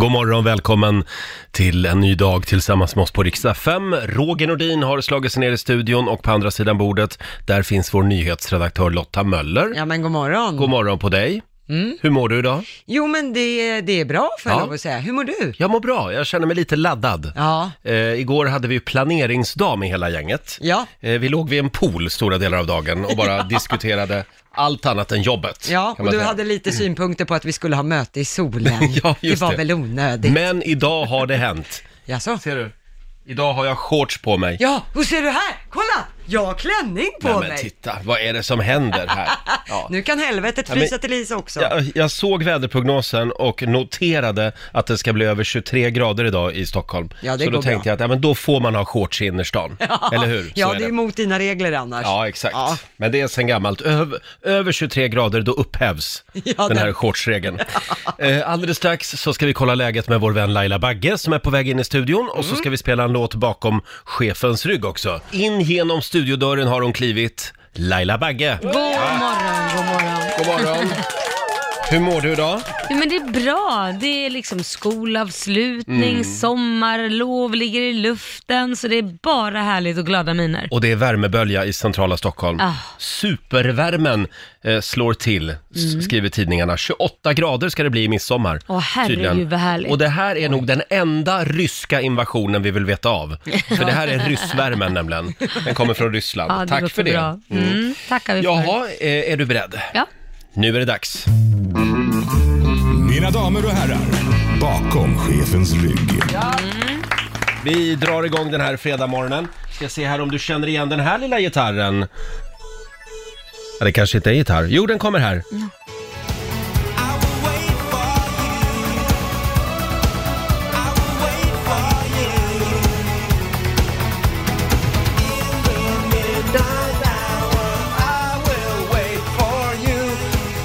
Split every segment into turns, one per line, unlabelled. God morgon, välkommen till en ny dag tillsammans med oss på riksdag 5. Roger Nordin har slagit sig ner i studion och på andra sidan bordet, där finns vår nyhetsredaktör Lotta Möller.
Ja Mm. men god morgon.
God morgon på dig. Hur mår du idag?
Jo men det, det är bra för
Ja.
jag lov att säga. Hur mår du?
Jag mår bra, jag känner mig lite laddad.
Ja,
Eh, igår hade vi ju planeringsdag med hela gänget.
ja,
Eh, vi låg vid en pool stora delar av dagen och bara diskuterade allt annat än jobbet.
ja.
kan
Och
man
du
säga.
hade lite synpunkter på att vi skulle ha möte i solen.
Ja,
det
just
var
det.
väl onödigt.
Men idag har det hänt.
Jaså?
Ser du? Idag har jag shorts på mig.
Ja, och ser du här? Kolla! Jag har klänning på
Nej, men
mig.
titta, vad är det som händer här? Ja.
Nu kan helvetet
men-
frysa till is också.
Jag, jag såg väderprognosen och noterade att det ska bli över 23 grader idag i Stockholm.
Ja, det
så då
går bra.
tänkte jag att ja, men då får man ha shorts i innerstan. Eller hur? Så
Ja,
är
det är mot dina regler annars.
Ja, exakt.
Ja.
Men det är sen gammalt. Över, över 23 grader, då upphävs
Ja,
den här
den-
shortsregeln. eh, alldeles strax så ska vi kolla läget med vår vän Laila Bagge som är på väg in i studion och
Mm.
så ska vi spela en låt bakom chefens rygg också. In genom studiodörren har hon klivit. Laila Bagge,
God morgon, god morgon.
god morgon. Hur mår du idag?
Jo, men det är bra. Det är liksom skolavslutning,
Mm.
sommarlov ligger i luften, så det är bara härligt och glada miner.
Och det är värmebölja i centrala Stockholm.
Ah.
Supervärmen eh, slår till, s- skriver tidningarna. 28 grader ska det bli i midsommar.
Mm. Åh, herregud, vad härligt.
Och det här är nog den enda ryska invasionen vi vill veta av. För det här är ryssvärmen nämligen. Den kommer från Ryssland.
Ja,
Tack
låter
för det.
Bra. Mm. Tackar vi för.
Jaha, eh, är du beredd?
Ja.
Nu är det dags.
Mina damer och herrar, bakom chefens rygg.
Vi drar igång den här fredagmorgonen. Ska se här om du känner igen den här lilla gitarren. Ja, det kanske inte är gitarr. Jo, den kommer här.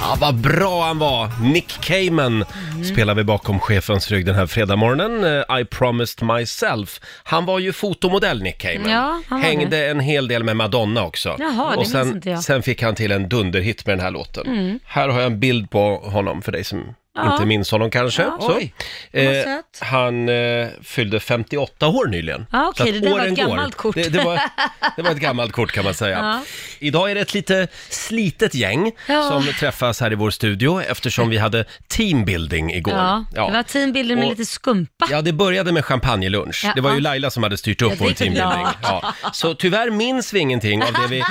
Ja, vad bra han var! Nick Cayman spelar vi bakom chefens rygg den här fredagmorgonen. Eh, I promised myself. Han var ju fotomodell, Nick Cayman.
Ja, han var
Hängde en hel del med Madonna också.
Jaha, det
Och sen,
minns inte jag. Mm.
sen fick han till en dunderhit med den här låten. Här har jag en bild på honom för dig som
Ja.
inte minns honom kanske. Så.
Oj,
Eh,
söt.
han eh, fyllde 58 år nyligen.
Ja, okej,
Så att
det där var
åren
ett
går.
gammalt kort.
Det, det, var, det var ett gammalt kort kan man säga.
Ja.
Idag är det ett lite slitet gäng
Ja.
som träffas här i vår studio eftersom vi hade teambuilding igår.
Ja. Det var teambilder med
Och-
lite skumpa.
Ja, det började med champagnelunch.
Ja.
Det var ju Laila som hade styrt upp
Jag
vår
tycker-
teambuilding. Ja. Så tyvärr minns vi ingenting av det vi,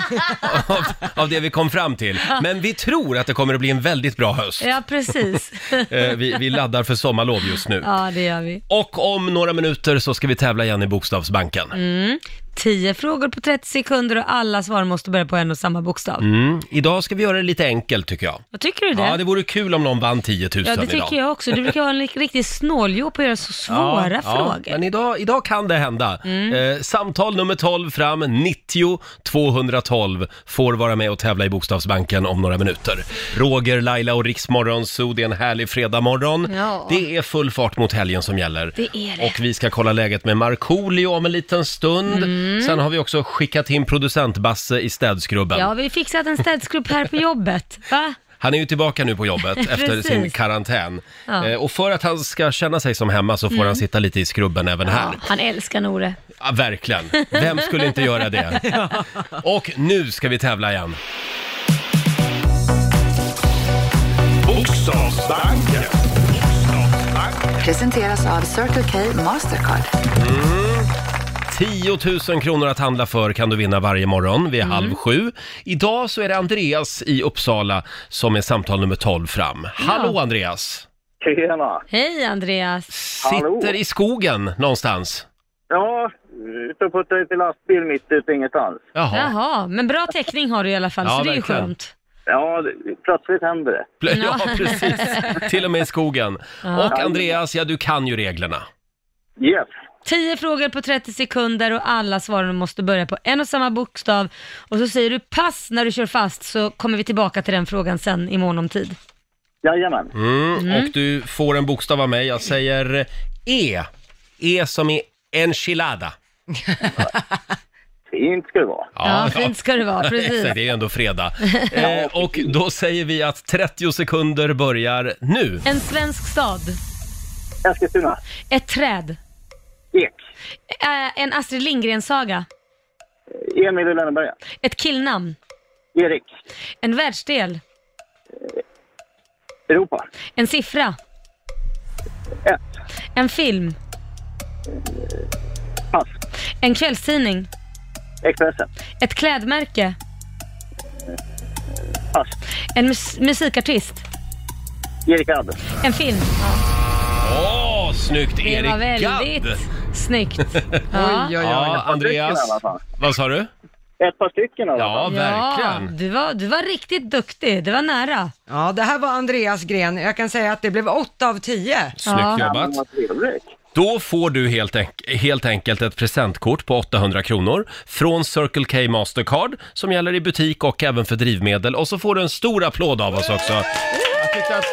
av, av det vi kom fram till. Men vi tror att det kommer att bli en väldigt bra höst.
Ja, precis.
Eh, Vi, vi laddar för sommarlov just nu.
ja, det gör vi.
Och om några minuter så ska vi tävla igen i Bokstavsbanken.
Mm. Tio frågor på 30 sekunder och alla svar måste börja på en och samma bokstav.
Mm. Idag ska vi göra det lite enkelt tycker jag.
Vad tycker du det?
Ja, det vore kul om någon vann 10 000
Ja, det
idag.
tycker jag också. Du brukar vara en riktig snåljåp och göra så svåra frågor. Mm.
men idag, idag kan det hända. Eh, samtal nummer 12 fram, 90 212 får vara med och tävla i Bokstavsbanken om några minuter. Roger, Laila och Riksmorgon, så det är en härlig fredagmorgon.
Ja.
Det är full fart mot helgen som gäller.
Det är det.
Och vi ska kolla läget med Markoolio om en liten stund.
Mm.
Sen har vi också skickat in producent Basse i städskrubben.
Ja, vi har fixat en städskrubb här på jobbet. Va?
Han är ju tillbaka nu på jobbet efter
Precis.
sin karantän.
Ja. Mm.
Eh, och för att han ska känna sig som hemma så får han sitta lite i skrubben även här.
Ja, han älskar nog det.
Ja, verkligen. Vem skulle inte göra det? Och nu ska vi tävla igen.
Bokstavsbanken.
Presenteras av Circle K Mastercard.
10 000 kronor att handla för kan du vinna varje morgon vid halv sju. Idag så är det Andreas i Uppsala som är samtal nummer 12 fram. Hallå Andreas!
Tjena!
Hej Andreas!
Hallå.
Sitter i skogen någonstans.
Ja, ute och puttar lite lastbil mitt ute ingenstans.
Jaha.
Jaha, men bra täckning har du i alla fall,
Ja,
så det är ju
verkligen.
skönt.
Ja, det- plötsligt händer det.
Ja, precis. Till och med i skogen. Och Andreas, ja du kan ju reglerna.
Yes!
10 frågor på 30 sekunder och alla svaren måste börja på en och samma bokstav. Och så säger du pass när du kör fast så kommer vi tillbaka till den frågan sen i mån om tid.
Jajamän.
Mm, Och du får en bokstav av mig. Jag säger E. E som i enchilada.
Fint ska det vara.
Ja, fint ska det vara, precis.
Exakt, det är ju ändå fredag. Eh, och då säger vi att 30 sekunder börjar nu.
En svensk stad.
Eskilstuna.
Ett träd.
Ek.
Eh, En Astrid Lindgren-saga.
Emil i Lönneberga.
Ett killnamn.
Erik.
En världsdel.
Europa.
En siffra.
Ett.
En film.
Pass.
En kvällstidning.
Expressen.
Ett klädmärke.
Pass.
En mus- musikartist.
Erik Adde.
En film.
Åh, snyggt!
Det
Erik
var väldigt
Gadd!
snyggt. Ja.
Oj, oj,
Ja,
oj.
Andreas.
stycken i alla fall.
Vad sa du?
Ett par stycken i alla
Ja,
fall.
Ja,
verkligen.
du var, du var riktigt duktig. Det var nära.
Ja, det här var Andreas Gren. Jag kan säga att det blev 8 av 10.
Snyggt
Ja.
jobbat.
men vad trevligt.
Då får du helt, enk- helt enkelt ett presentkort på 800 kronor från Circle K Mastercard som gäller i butik och även för drivmedel. Och så får du en stor applåd av oss också. Jag tyckte att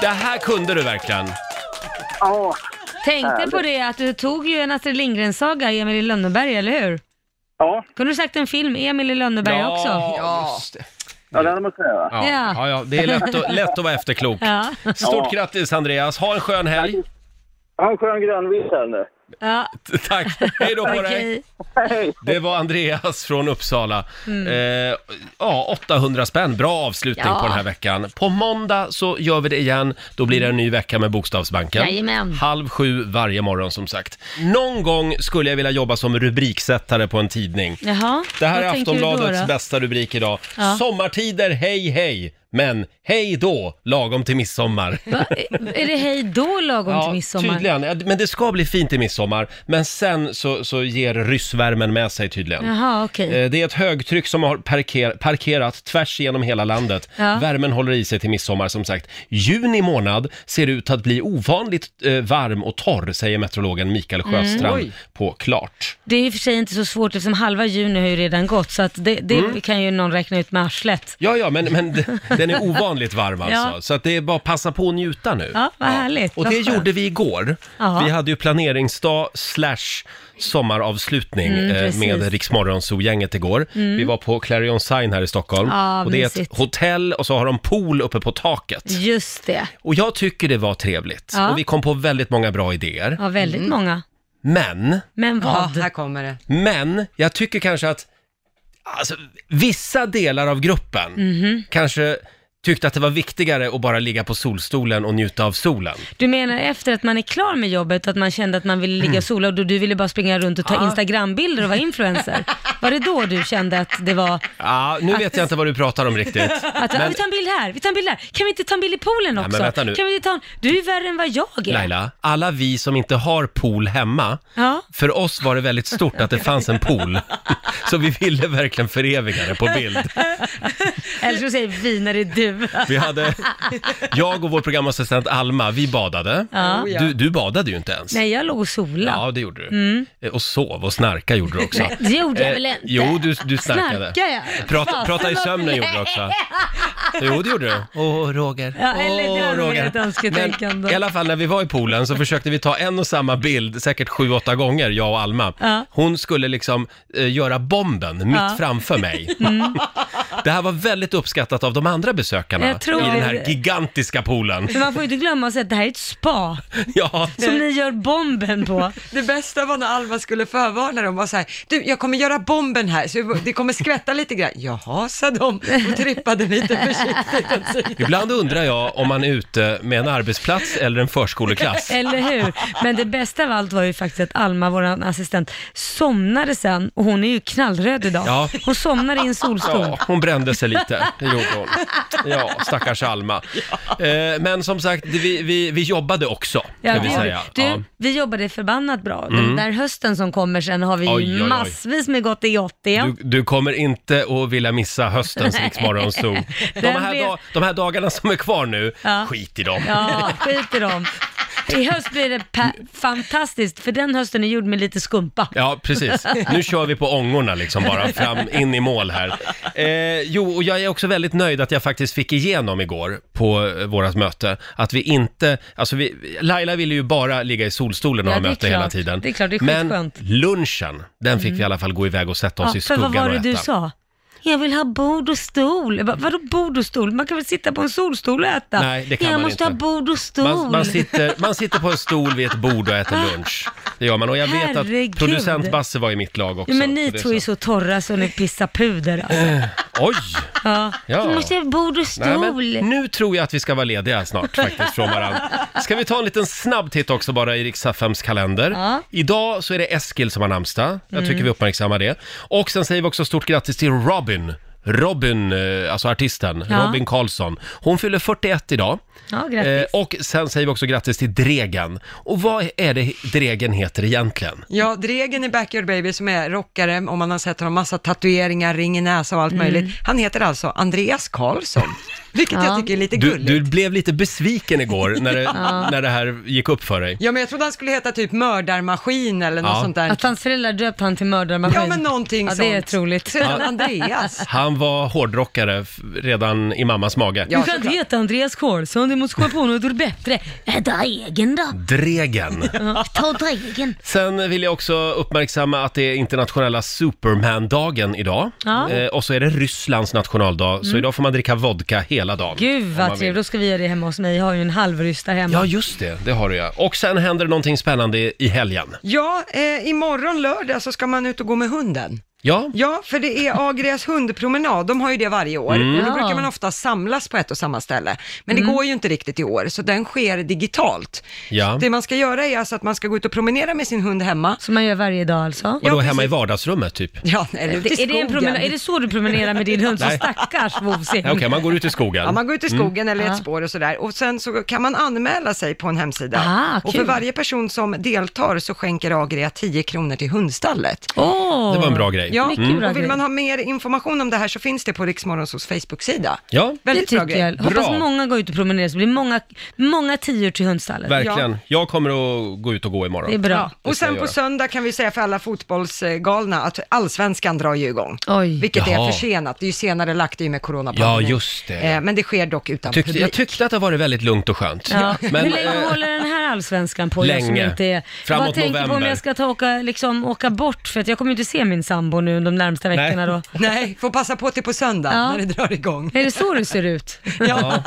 det här kunde du verkligen.
Ja,
Tänkte på det att du tog ju en Astrid Lindgren-saga, Emil i Lönneberga, eller hur?
ja,
Kunde du sagt en film, Emil i Lönneberga också?
just det.
ja det hade man kunnat göra.
Ja,
Ja.
ja, ja, det är lätt att, lätt att vara efterklok.
Ja.
Stort
Ja.
grattis Andreas, ha en skön helg.
Ha en skön grönvis här nu.
ja.
Tack, hej då på dig.
Okej.
Hej!
Det var Andreas från Uppsala. Eh, ja, 800 spänn. Bra avslutning
Mm. Ja.
på den här veckan. På måndag så gör vi det igen. Då blir det en ny vecka med Bokstavsbanken.
Jajamän.
Halv sju varje morgon som sagt. Någon gång skulle jag vilja jobba som rubriksättare på en tidning.
Jaha,
Det här
vad
är
tänker du då,
Aftonbladets
då?
bästa rubrik idag.
Ja.
Sommartider, hej hej, men hej då, lagom till midsommar.
Va? Är det hej då lagom till midsommar?
tydligen. Ja, Men det ska bli fint i midsommar. Men sen så, så ger ryssvärmen med sig tydligen.
Jaha, okej.
Eh, Det är ett högtryck som har parker, parkerat tvärs genom hela landet.
Ja.
Värmen håller i sig till midsommar som sagt. Juni månad ser ut att bli ovanligt eh, varm och torr, säger meteorologen Mikael
Mm.
Sjöstrand på Klart.
Det är i och för sig inte så svårt eftersom halva juni har ju redan gått så att det, det
Mm.
kan ju någon räkna ut med arslet.
Ja, ja, men, men d- den är ovanligt varm alltså.
Ja.
Så att det är bara att passa på och njuta nu.
Ja, vad härligt.
Och
Vad
det
skönt.
gjorde vi igår.
Ja.
Vi hade ju planeringsdag slash sommaravslutning
Mm,
eh,
precis. Mm.
med Riksmorgonzoo-gänget igår. Vi var på Clarion Sign här i Stockholm.
Ja,
och det är ett
mysigt.
hotell och så har de pool uppe på taket.
Just det.
Och jag tycker det var trevligt.
Ja.
Och vi kom på väldigt många bra idéer.
Ja, väldigt många.
Men,
Men
Ja,
vad?
här kommer det.
men jag tycker kanske att alltså, vissa delar av gruppen kanske tyckte att det var viktigare att bara ligga på solstolen och njuta av solen.
Du menar efter att man är klar med jobbet, att man kände att man ville ligga och sola och då du ville bara springa runt och ta Instagrambilder och vara influencer? Var det då du kände att det var,
Ja, nu vet jag inte vad du pratar om riktigt.
att ah, vi tar en bild här, vi tar en bild här, kan vi inte ta en bild i poolen också?
men vänta nu.
Kan vi inte ta en... Du är värre än vad jag är.
Laila, alla vi som inte har pool hemma,
Ja.
för oss var det väldigt stort att det fanns en pool. Så vi ville verkligen föreviga det på bild.
Eller så säger vi när det är du.
Vi hade, jag och vår programassistent Alma, vi badade.
Oh, ja.
Du, du badade ju inte ens.
Nej, jag låg och sola.
Ja, det gjorde du. Eh, Och sov och snarka gjorde du också.
Mm. Det gjorde jag väl
Eh,
inte?
Jo, du, du snarkade.
Snarkade jag?
Prata,
Fasen,
prata i
vad
sömnen gjorde du också. Jo, det gjorde du. Åh, Roger.
Ja, eller det
Åh,
var mer ett önsketänkande.
Men I alla fall när vi var i poolen så försökte vi ta en och samma bild, säkert sju, åtta gånger, jag och Alma.
Ja.
Hon skulle liksom eh, göra bomben mitt
Ja. Mm.
framför mig. Det här var väldigt uppskattat av de andra besökarna
Jag tror
i den
det.
här gigantiska poolen.
Men man får ju inte glömma att säga att det här är ett spa
Ja.
som ni gör bomben på.
Det bästa var när Alma skulle förvarna dem var så här, du jag kommer göra bomben här, så det kommer skvätta lite grann. Jaha, sa de och trippade lite försiktigt. åt sidan.
Ibland undrar jag om man är ute med en arbetsplats eller en förskoleklass.
Eller hur? Men det bästa av allt var ju faktiskt att Alma, vår assistent, somnade sen och hon är ju knallröd idag.
Ja.
Hon somnade i en solstol.
Ja, hon brände sig lite, det gjorde hon. Ja, stackars Alma. Eh, men som sagt, det- vi, vi, vi jobbade också, kan
Ja,
vi
det gjorde
säga.
vi.
Ja.
du,
Mm.
vi jobbade förbannat bra. Den där hösten som kommer sen har vi ju
Oj, oj, oj.
massvis med gott i gott igen.
Du, du kommer inte att vilja missa höstens Riksmorgonzoo. De,
Den
här
blir-
da- de här dagarna som är kvar nu,
Ja.
skit i dem.
Ja, skit i dem. I höst blir det pa- fantastiskt, för den hösten är gjord med lite skumpa.
Ja, precis. Nu kör vi på ångorna liksom bara, fram, in i mål här. Eh, jo, och jag är också väldigt nöjd att jag faktiskt fick igenom igår på eh, vårat möte, att vi inte, alltså vi, Laila ville ju bara ligga i solstolen och
Ja,
ha
det är
möte hela
klart.
tiden.
Det är klart, det är
Men
skitskönt. Mm.
lunchen, den fick vi i alla fall gå iväg och sätta oss i
för
skuggan
vad var
och
det
äta.
du sa? jag vill ha bord och stol. Jag bara, Vadå bord och stol? Man kan väl sitta på en solstol och äta?
Nej, det kan
jag
man
måste
inte.
ha bord och stol. Ah.
Man, man, sitter, man sitter på en stol vid ett bord och äter lunch. Det gör man. Och jag vet
Herregud.
att producent Basse var i mitt lag också.
ja, men
så
ni
det är
två är så torra så ni pissar puder. Alltså.
Oj!
Ja.
Ja.
Vi måste ha bord och
Nej,
stol.
men Mm. nu tror jag att vi ska vara lediga snart faktiskt från varandra. Ska vi ta en liten snabb titt också bara i Riks-FMs kalender.
Ja. Mm.
Idag så är det Eskil som har namnsdag. Jag tycker vi uppmärksammar det. Och sen säger vi också stort grattis till Robin. Robin, eh, alltså artisten,
Ja.
Robin Karlsson. Hon fyller 41 idag. Eh,
Ja, grattis.
och sen säger vi också grattis till Dregen. Och vad är det Dregen heter egentligen?
Ja, Dregen i Backyard Baby som är rockare, om man har sett honom, massa tatueringar, ring i näsa och allt
Mm.
möjligt. Han heter alltså Andreas Karlsson, vilket jag tycker är lite
Du,
gulligt.
du blev lite besviken igår när det, när det här gick upp för dig.
Ja, men jag trodde han skulle heta typ mördarmaskin eller något
Ja.
sånt där.
Att hans föräldrar döpte han till mördarmaskin.
Ja, men någonting
ja,
sånt.
det är troligt.
Så heter han Andreas.
Han var hårdrockare f- redan i mammas mage.
Ja,
du kan inte
såklart.
heta Andreas Karlsson, du måste komma på något bättre. Mm. Äta egen Äh, då.
Dregen.
Ja, Ta dregen.
Sen vill jag också uppmärksamma att det är internationella Superman-dagen idag.
Ja. Mm.
Eh, och så är det Rysslands nationaldag, så idag får man dricka vodka hela dagen.
Gud
om man
vad
vill.
trevligt, då ska vi göra det hemma hos mig. Jag har ju en halvryss där hemma.
Ja, just det. Det har du ja. Och sen händer det någonting spännande i- i helgen.
Ja, eh, imorgon lördag så ska man ut och gå med hunden.
Ja,
Ja, för det är Agrias hundpromenad, de har ju det varje år. Och då
Mm. Ja. Mm.
brukar man ofta samlas på ett och samma ställe. Men det går ju inte riktigt i år, så den sker digitalt.
Ja.
Så Det man ska göra är alltså att man ska gå ut och promenera med sin hund hemma.
Som man gör varje dag alltså.
och då
Ja,
hemma i
precis.
vardagsrummet typ. Ja,
Ja, eller ut i
Det, är,
skogen.
det en promena- är det så du promenerar med din hund? Så
Nej.
stackars vovsing.
Okej, man går ut i skogen.
Ja, man går ut i skogen eller
Mm. Ja.
ett spår och sådär. Och sen så kan man anmäla sig på en hemsida.
Ah,
och för
kul.
varje person som deltar så skänker Agria 10 kronor till hundstallet.
Åh!
Det var en bra grej. Mm.
Ja,
Mycket bra
och vill
grej.
man ha mer information om det här så finns det på Riksmorgonsos Facebook-sida.
Ja,
Det
Väldigt bra
tycker
grej.
jag. Hoppas
Bra.
många går ut och promenerar så blir många, många tior till hundstallet.
verkligen. Jag kommer att gå ut och gå imorgon.
Det är bra.
Det
Och
ska
sen
jag
på
göra.
söndag kan vi säga för alla fotbollsgalna att allsvenskan drar ju igång.
Oj.
Vilket
Jaha.
är försenat, det är ju senare lagt i och med coronapandemin.
Ja, just det.
Eh, Men det sker dock utan
Tyckte-
publik.
jag tyckte att det har varit väldigt lugnt och skönt.
Ja.
Men,
Hur länge
eh,
håller den här allsvenskan på? Jag som
Länge.
inte är...
Framåt
Vad tänker på om
november.
jag ska ta och åka, liksom, åka bort? För att jag kommer ju inte se min sambo nu de närmsta veckorna då.
Nej, får passa på till på söndag
Ja.
när det drar igång.
Är det så det ser ut?
Ja,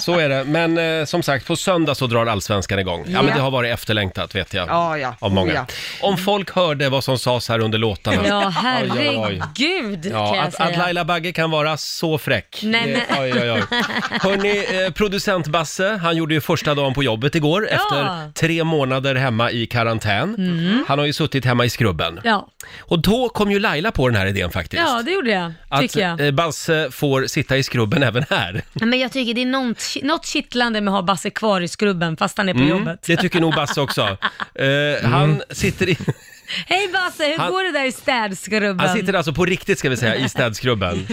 så är det. Men eh, som sagt, på söndag så drar allsvenskan igång. Ja, men det har varit efterlängtat vet jag.
Ja, ja.
Av många.
Oh, ja.
Om folk hörde vad som sades här under låtarna.
Ja,
Oj, oj, oj.
herregud kan
Ja,
jag
att,
säga.
att Laila Bagge kan vara så fräck.
Nej,
Det-
men-
Oj, oj, oj. Hörrni, eh, producent Basse, han gjorde ju första dagen på jobbet igår efter tre månader hemma i karantän. Han har ju suttit hemma i skrubben.
Mm. Ja.
Och då kom ju Laila på den här idén faktiskt.
ja, det gjorde jag,
att
tycker jag.
eh, Basse får sitta i skrubben även här.
Ja, Men jag tycker det är något, något kittlande med att ha Basse kvar i skrubben fast han är på
Mm.
jobbet.
Det tycker nog Basse också. Eh, Han, sitter i,
Hej Basse, hur
Han-
går det där i städskrubben?
han sitter alltså på riktigt ska vi säga i städskrubben.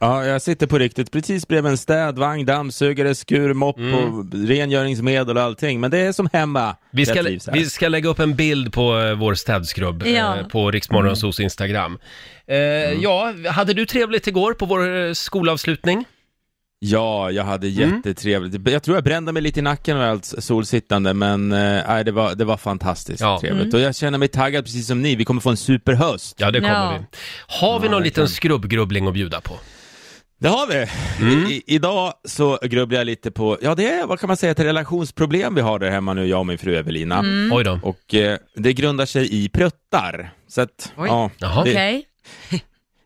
Ja, jag sitter på riktigt precis bredvid en städvagn, dammsugare, skur, mopp
Mm.
och rengöringsmedel och allting. Men det är som hemma.
Vi ska,
Jag trivs här.
vi ska lägga upp en bild på eh, vår städskrubb eh,
Ja.
på Riksmorgonsos Instagram. Eh, Ja, hade du trevligt igår på vår eh, skolavslutning?
Ja, jag hade
Mm.
jättetrevligt. Jag tror jag brände mig lite i nacken av allt solsittande, men eh, nej, det, var, det var fantastiskt
Ja. Mm.
trevligt. Och jag känner mig taggad precis som ni. Vi kommer få en superhöst.
Ja, det kommer
Ja.
vi. Har vi
Ja,
någon liten
verkligen.
skrubbgrubbling att bjuda på?
Det har vi!
Mm.
I, i, idag så grubblar jag lite på, ja det är, vad kan man säga, ett relationsproblem vi har där hemma nu, jag och min fru Evelina.
Mm.
Oj då.
Och eh, det grundar sig i pruttar. Så att,
Oj.
ja,
Jaha.
det,
Okej.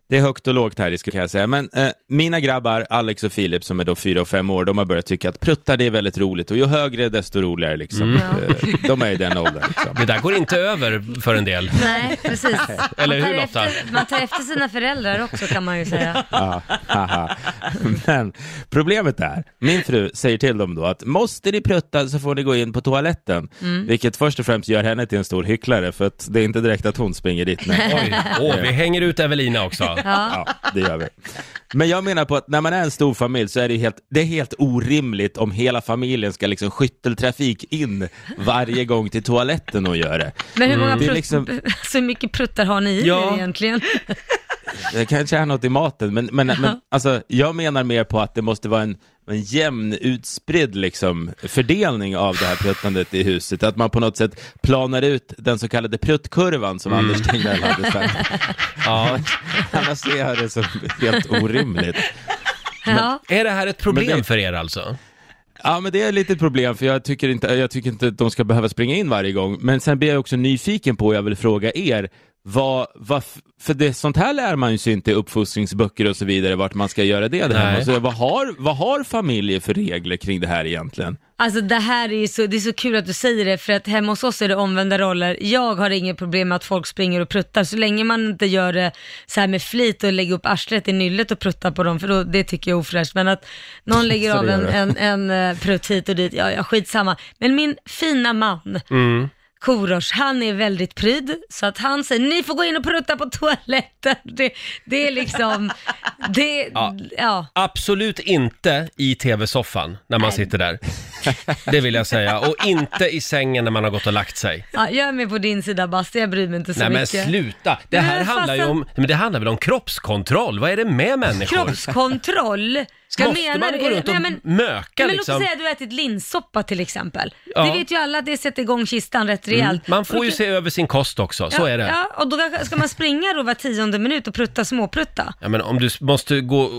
Det är högt och lågt här, det skulle jag säga. Men eh, mina grabbar, Alex och Filip, som är då fyra och fem år, de har börjat tycka att pruttar, det är väldigt roligt. Och ju högre, desto roligare liksom. Eh, de är i den åldern liksom.
Det där går inte över för en del.
Nej, precis.
Eller
man,
hur,
tar
Lotta?
efter, man tar efter sina föräldrar också kan man ju säga.
Ja, haha. Men problemet är, min fru säger till dem då att måste ni prutta så får ni gå in på toaletten. Vilket först och främst gör henne till en stor hycklare, för att det är inte direkt att hon springer dit. Nej.
Oj, åh, vi hänger ut Evelina också.
Ja, det gör vi. Men jag menar på att när man är en stor familj så är det ju helt, det är helt orimligt om hela familjen ska liksom skytteltrafik in varje gång till toaletten och gör Mm. det.
Men hur många
Det är
prutt,
liksom-
så mycket pruttar har ni i
Ja.
er egentligen?
det kanske är något i maten, men, men, men alltså, jag menar mer på att det måste vara en, en jämn utspridd liksom, fördelning av det här pruttandet i huset. Att man på något sätt planar ut den så kallade pruttkurvan som Anders Tegnell hade sagt.
Ja.
Annars ser jag det som helt orimligt.
Ja.
Är det här ett problem
Men det-
för er alltså?
Ja, men det är lite ett problem för jag tycker inte, jag tycker inte att de ska behöva springa in varje gång. Men sen blir jag också nyfiken på, och jag vill fråga er, vad, vad, för det, sånt här lär man ju sig inte i uppfostringsböcker och så vidare, vart man ska göra det där
Nej.
hemma. Så vad har, vad har familjer för regler kring det här egentligen?
Alltså det här är ju så, det är så kul att du säger det för att hemma hos oss är det omvända roller. Jag har inget problem med att folk springer och pruttar så länge man inte gör det så här med flit och lägger upp arslet i nyllet och pruttar på dem för då, det tycker jag är ofräscht. Men att någon lägger
Så
av
det gör
en,
du.
en, en eh, prutt hit och dit, ja, ja skitsamma. Men min fina man,
Mm.
Korosh, han är väldigt pryd, så att han säger ni får gå in och prutta på toaletten. Det, det är liksom, det, ja.
Absolut inte i tv-soffan när man sitter där. Det vill jag säga. Och inte i sängen när man har gått och lagt sig.
Ja, jag är med på din sida Basti, jag bryr mig inte så
Nej men
mycket.
sluta! Det här
Men
handlar ju
fastän-
om, men det handlar väl om kroppskontroll? Vad är det med människor?
Kroppskontroll? Vad
Måste man
du?
gå
Är det-
runt
nej,
och
men-
möka
men
liksom?
låt oss säga att du har ätit linssoppa till exempel.
Ja. Mm,
Det vet ju alla att det sätter igång kistan rätt rejält.
Man får
Och
ju
då-
se över sin kost också, så
ja,
är det.
Ja, och då kanske- ska man springa då var tionde minut och prutta småprutta.
Ja men om du s- måste gå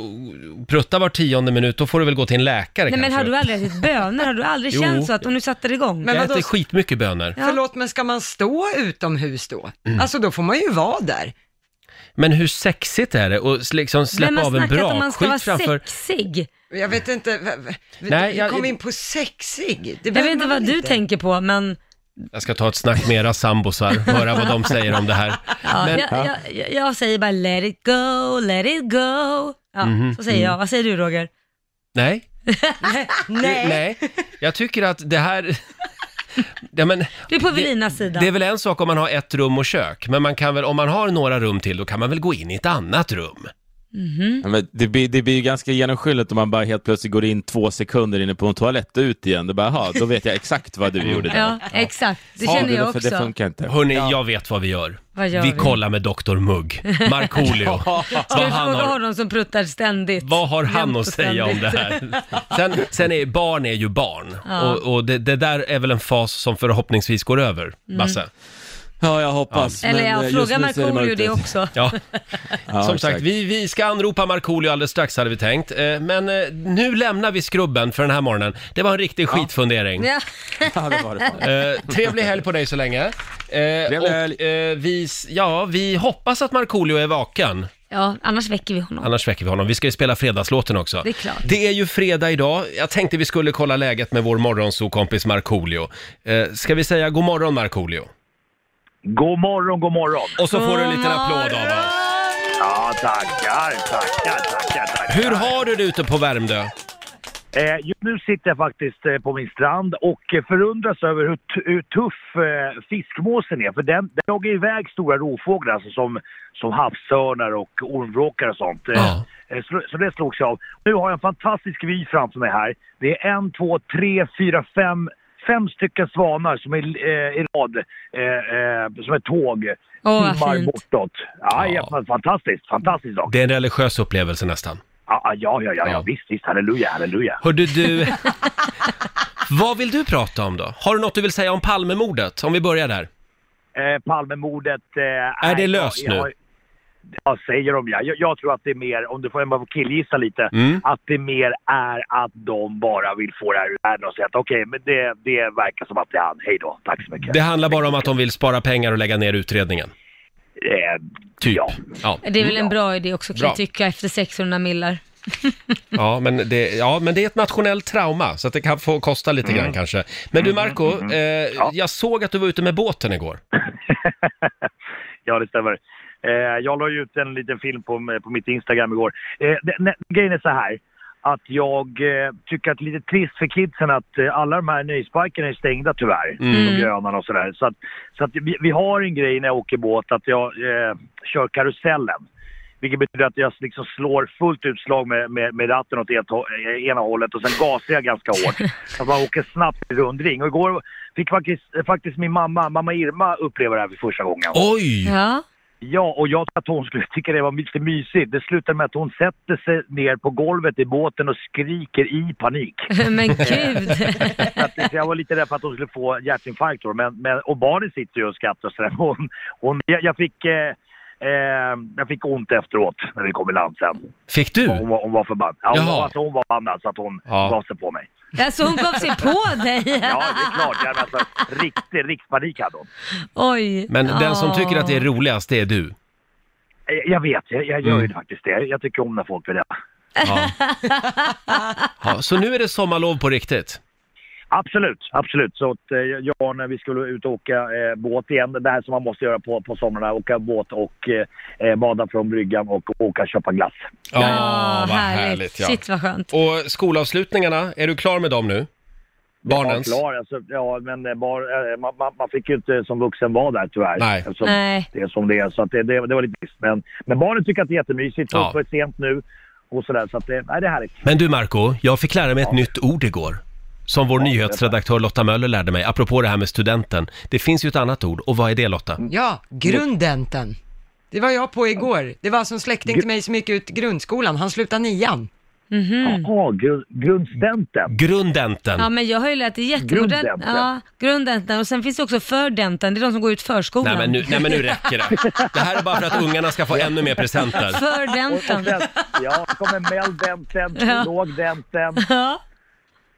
prutta var tionde minut, då får du väl gå till en läkare
Nej men
kanske.
har du aldrig ätit bönor? Har du aldrig
Jo.
känt så att, och nu satte det igång?
Men
Jag
vadå?
äter skitmycket bönor.
Förlåt, men ska man stå utomhus då?
Mm.
Alltså då får man ju vara där.
Men hur sexigt är det att s- liksom
Vem
släppa
har
av en
snackat om man ska vara
brakskit framför...
sexig?
Jag vet inte, v- v- vi
Mm. Nej, jag-
kom in på sexig. Det
Jag
behöver
vet inte
man
vad
väl
du tänker på men,
Jag ska ta ett snack med era sambosar, höra vad de säger om det här.
ja,
Men,
jag, jag, jag, jag säger bara let it go, let it go. Ja,
Mhm,
så säger
mm.
jag. Vad säger du Roger?
nej,
Nej.
Nej, jag tycker att det här... Ja, men,
Du är på Velinas sida.
det är väl en sak om man har ett rum och kök, men man kan väl, om man har några rum till, då kan man väl gå in i ett annat rum?
Mm. Ja, men det, blir, det blir ju ganska genomskinligt om man bara helt plötsligt går in två sekunder inne på en toalett och ut igen. Det bara, aha, då vet jag exakt vad du gjorde där.
Ja, exakt. Det
Ja,
känner jag
för Det
också.
funkar inte.
Hörni, jag vet vad vi gör.
Vad gör
vi,
vi?
kollar med Dr. Mugg, Markoolio.
Ska
vad,
vi
han
fråga
har,
honom som pruttar ständigt?
vad har han
Jämt
att
och
säga om det
ständigt.
här? Sen, sen är barn är ju barn, och, och det, det där är väl en fas som förhoppningsvis går över,
Mm.
Basse.
Ja, jag hoppas.
Eller
men, eh,
ja,
just
fråga
nu ser det mörkt
Markoolio
ut.
det också.
Ja.
Ja,
Som
exakt.
sagt, vi, vi ska anropa Markoolio alldeles strax hade vi tänkt. Eh, Men eh, nu lämnar vi skrubben för den här morgonen. Det var en riktig skitfundering.
Ja.
Ja, det var det fan.
Eh, trevlig helg på dig så länge. Eh, och,
helg.
eh, vi, s- ja, vi hoppas att Markoolio är vaken.
ja, annars väcker vi honom.
Annars väcker vi honom. Vi ska ju spela fredagslåten också.
Det är klart.
Det är ju fredag idag. Jag tänkte vi skulle kolla läget med vår morgonsokompis Markoolio. Eh, ska vi säga god morgon Markoolio?
God morgon, god morgon.
Och så får du en
God
liten applåd av
morgon!
oss.
Ja, tackar, tackar, tackar, tackar.
Hur har du det ute på Värmdö?
Eh, just nu sitter jag faktiskt eh, på min strand och eh, förundras över hur, t- hur tuff eh, fiskmåsen är. För den, den jagar iväg stora rovfåglar, alltså som, som havsörnar och ormvråkar och sånt. Eh,
Ja.
eh, Så, så det slogs jag av. Nu har jag en fantastisk vy framför mig här. Det är en, två, tre, fyra, fem, fem stycken svanar som är eh, i rad, eh, eh, som ett tåg,
Åh, vad
timmar
fint.
bortåt. Ja,
Ja.
ja. fan- fantastiskt, fantastisk sak.
Det är en religiös upplevelse nästan.
Ja, ja, ja, ja, ja,
Ja.
ja. visst, visst, halleluja, halleluja.
Hörde du... Vad vill du prata om då? Har du något du vill säga om Palmemordet? Om vi börjar där.
Eh, Palmemordet... Eh,
det
nej,
löst
jag,
nu?
Jag, jag säger de ja. Jag, jag tror att det är mer, om du får jag bara får killgissa lite,
Mm.
att det mer är att de bara vill få det här ur världen och säga att okej, men det, det verkar som att det är han. Hej då, tack så mycket.
Det handlar bara om att de vill spara pengar och lägga ner utredningen.
Eh,
Typ.
Ja.
Ja,
Det är väl en bra idé också kan
Bra.
jag tycka efter 600 millar.
ja, men det, ja, men det är ett nationellt trauma så att det kan få kosta lite
Mm.
grann kanske. Men du Marco, eh, jag såg att du var ute med båten igår.
ja, det stämmer. Eh, jag la ju ut en liten film på, på mitt Instagram igår. Eh, det, ne, grejen är så här. Att jag eh, tycker att det är lite trist för kidsen att eh, alla de här nöjesparkerna är stängda tyvärr. De gröna och sådär. Så, att, så att vi, vi har en grej när jag åker båt att jag eh, kör karusellen. Vilket betyder att jag liksom slår fullt utslag med, med, med ratten åt ett, hå- eh, ena hållet och sen gasar jag ganska hårt. Så att man åker snabbt i rundring. Och igår fick faktiskt, eh, faktiskt min mamma, mamma Irma, uppleva det här för första gången.
Oj!
Ja.
Ja, och jag tror att hon skulle tycka det var lite mysigt. Det slutar med att hon sätter sig ner på golvet i båten och skriker i panik.
Men gud.
Så att, så jag var lite rädd för att hon skulle få hjärtinfarkt då. Men, men, och barnen sitter ju och skrattar så där. hon, hon, jag, jag fick... Eh, eh, jag fick ont efteråt när vi kom i land sen.
Fick du?
Hon var, hon var förbannad. Ja, hon,
Jaha.
alltså, hon var förbannad så att hon
Ja.
gav sig på mig.
Alltså hon gav sig på dig.
Ja, det är klart. Jag, alltså, riktig, riktig panik hade hon.
Oj.
Men den som
Ja.
tycker att det är roligast, det är du.
Eh, Jag, jag vet, jag, jag
Mm.
gör ju faktiskt det. Jag tycker om när folk vill det.
Ja. Ja, så nu är det sommarlov på riktigt.
Absolut, absolut. Så att, eh, ja, när vi skulle ut och åka eh, båt igen, det här som man måste göra på, på somrarna, åka båt och eh, eh, bada från bryggan och åka och köpa glass.
Ja,
Ja, härligt. Shit vad skönt.
Och skolavslutningarna, är du klar med dem nu? Barnens?
Ja, klar, alltså, ja men eh, bar, eh, man, man, man fick ju inte som vuxen vara där tyvärr.
Nej.
Eftersom
Nej.
Det är som det är, så att det, det, det var lite trist. Men, men barnen tycker att det är jättemysigt,
Ja.
ja. och är sent nu och sådär. Så att det, nej, det är härligt.
Men du Marco, jag fick lära mig ett nytt ord igår. Som vår nyhetsredaktör Lotta Möller lärde mig, apropå det här med studenten. Det finns ju ett annat ord, och vad är det Lotta?
Ja, grundenten. Det var jag på igår. Det var alltså en släkting till mig som gick ut grundskolan. Han slutade nian.
Mm.
Jaha, ah, gru, grundstudenten.
Grundenten.
Ja men jag har ju lärt det jättemodernt.
Grunddenten.
Ja, grunddenten. Och sen finns det också fördenten, det är de som går ut förskolan.
Nej men, nu, nej men nu räcker det. Det här är bara för att ungarna ska få ännu mer presenter.
Fördenten.
Sen, ja, det kommer melldenten,
Ja.
lågdenten.
Ja.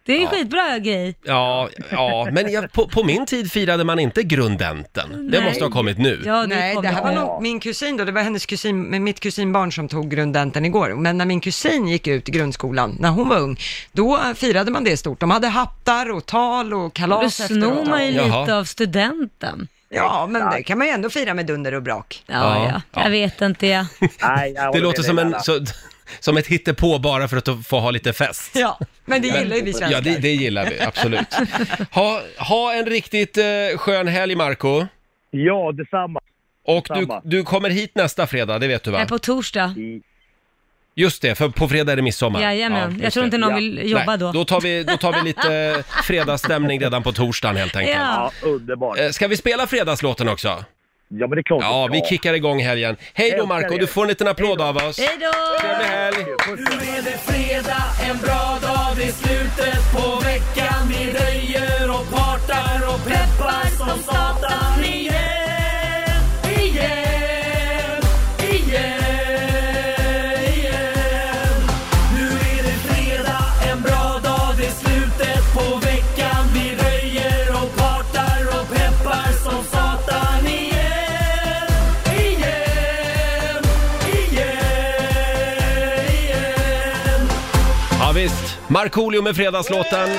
Det är en skitbra grej.
Ja, ja men jag, på, på min tid firade man inte grundenten. Det
Nej.
måste ha kommit nu.
Ja, det
Nej, det
kommer
här var
jag.
nog min kusin då. Det var hennes kusin, med mitt kusinbarn som tog grundenten igår. Men när min kusin gick ut i grundskolan, när hon var ung, då firade man det stort. De hade hattar och tal och kalas
Då snor
efteråt.
man ju
Jaha.
lite av studenten.
Ja, men det kan man ju ändå fira med dunder och brak.
Ja,
Ja,
ja. Jag vet inte jag.
Nej, jag
Det
håller
låter
med
som,
dig,
en,
Laila.
så, som ett hittepå bara för att få ha lite fest.
Ja, men det gillar ju vi svenskar.
Ja, det, det gillar vi, absolut. Ha, ha en riktigt eh, skön helg, Marco.
Ja, detsamma.
Och du,
Samma.
du kommer hit nästa fredag, det vet du va?
Nej, på torsdag.
Just det, för på fredag är det midsommar.
Jajamän.
just
jag tror inte
det.
någon
Ja.
vill jobba
Nej,
då.
Då tar, vi, då tar vi lite eh, fredagsstämning redan på torsdagen helt enkelt.
Ja.
Ja, underbart.
Eh, Ska vi spela fredagslåten också?
Ja, men det är klart.
Ja, vi kickar igång helgen. Hej då
Älskar
Marco,
er.
du får en liten applåd av oss.
Hej då!
Trevlig helg!
Nu är det fredag, en bra dag, det är slutet på veckan. Vi röjer och partar och peppar som satan. Igen, igen, igen, igen. Nu är det fredag, en bra dag, det är slutet på veckan. Vi röjer och partar och peppar som satan. Igen, igen, igen, igen.
Ja, visst. Markoolio med fredagslåten.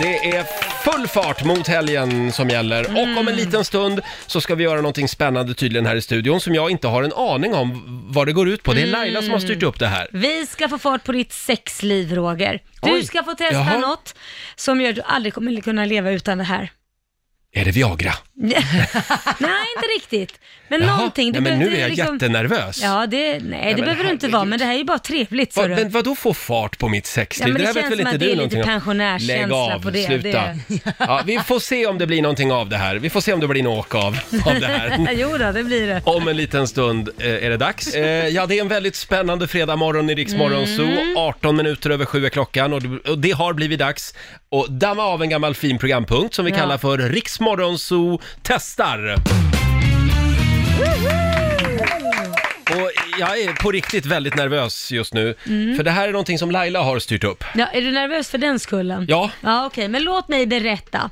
Det är full fart mot helgen som gäller. Och om en liten stund så ska vi göra någonting spännande tydligen här i studion som jag inte har en aning om vad det går ut på. Det är Laila som har styrt upp det här.
Vi ska få fart på ditt sexliv, Roger. Du
Oj.
ska få testa
Jaha.
något som gör att du aldrig kommer kunna leva utan det här.
Är det Viagra?
Nej, inte riktigt. Men
Jaha.
någonting.
Nej, men
behöver
nu är jag
liksom-
jättenervös.
Ja, det, nej, det
men
behöver du inte
herregud.
vara, men det här är ju bara trevligt.
Va,
ser du.
men vadå få fart på mitt
Ja,
sexliv?
men det,
här
känns som att det är lite
om.
pensionärskänsla
Lägg av,
på det.
sluta.
det...
Ja, vi får se om det blir någonting av det här. Vi får se om det blir något åk av, av det här.
jo då, det blir det.
Om en liten stund eh, är det dags. Eh, ja, det är en väldigt spännande fredagmorgon i Rix mm. Zoo. 18 minuter över sju är klockan och det, och det har blivit dags att damma av en gammal fin programpunkt som vi
Ja.
kallar för Rix Zoo testar. Och jag är på riktigt väldigt nervös just nu, för det här är någonting som Laila har styrt upp.
Ja, är du nervös för den skullen?
Ja.
Ja, okej, men låt mig berätta.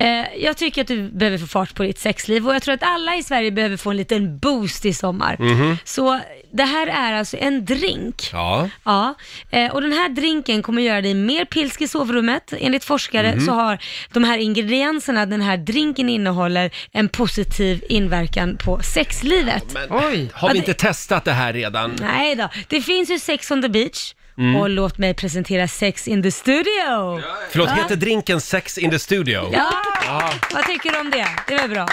Eh, jag tycker att du behöver få fart på ditt sexliv och jag tror att alla i Sverige behöver få en liten boost i sommar.
Mhm.
Så det här är alltså en drink.
Ja.
Ja, eh, och den här drinken kommer göra dig mer pilsk i sovrummet. Enligt forskare
Mhm.
så har de här ingredienserna den här drinken innehåller en positiv inverkan på sexlivet.
Men
Oj.
har vi
Ja,
inte testat det här redan?
Nej då, det finns ju Sex on the beach
Mm.
och låt mig presentera Sex in the studio.
Förlåt, heter drinken Sex in the Studio?
Ja, vad tycker du om det? Det var bra.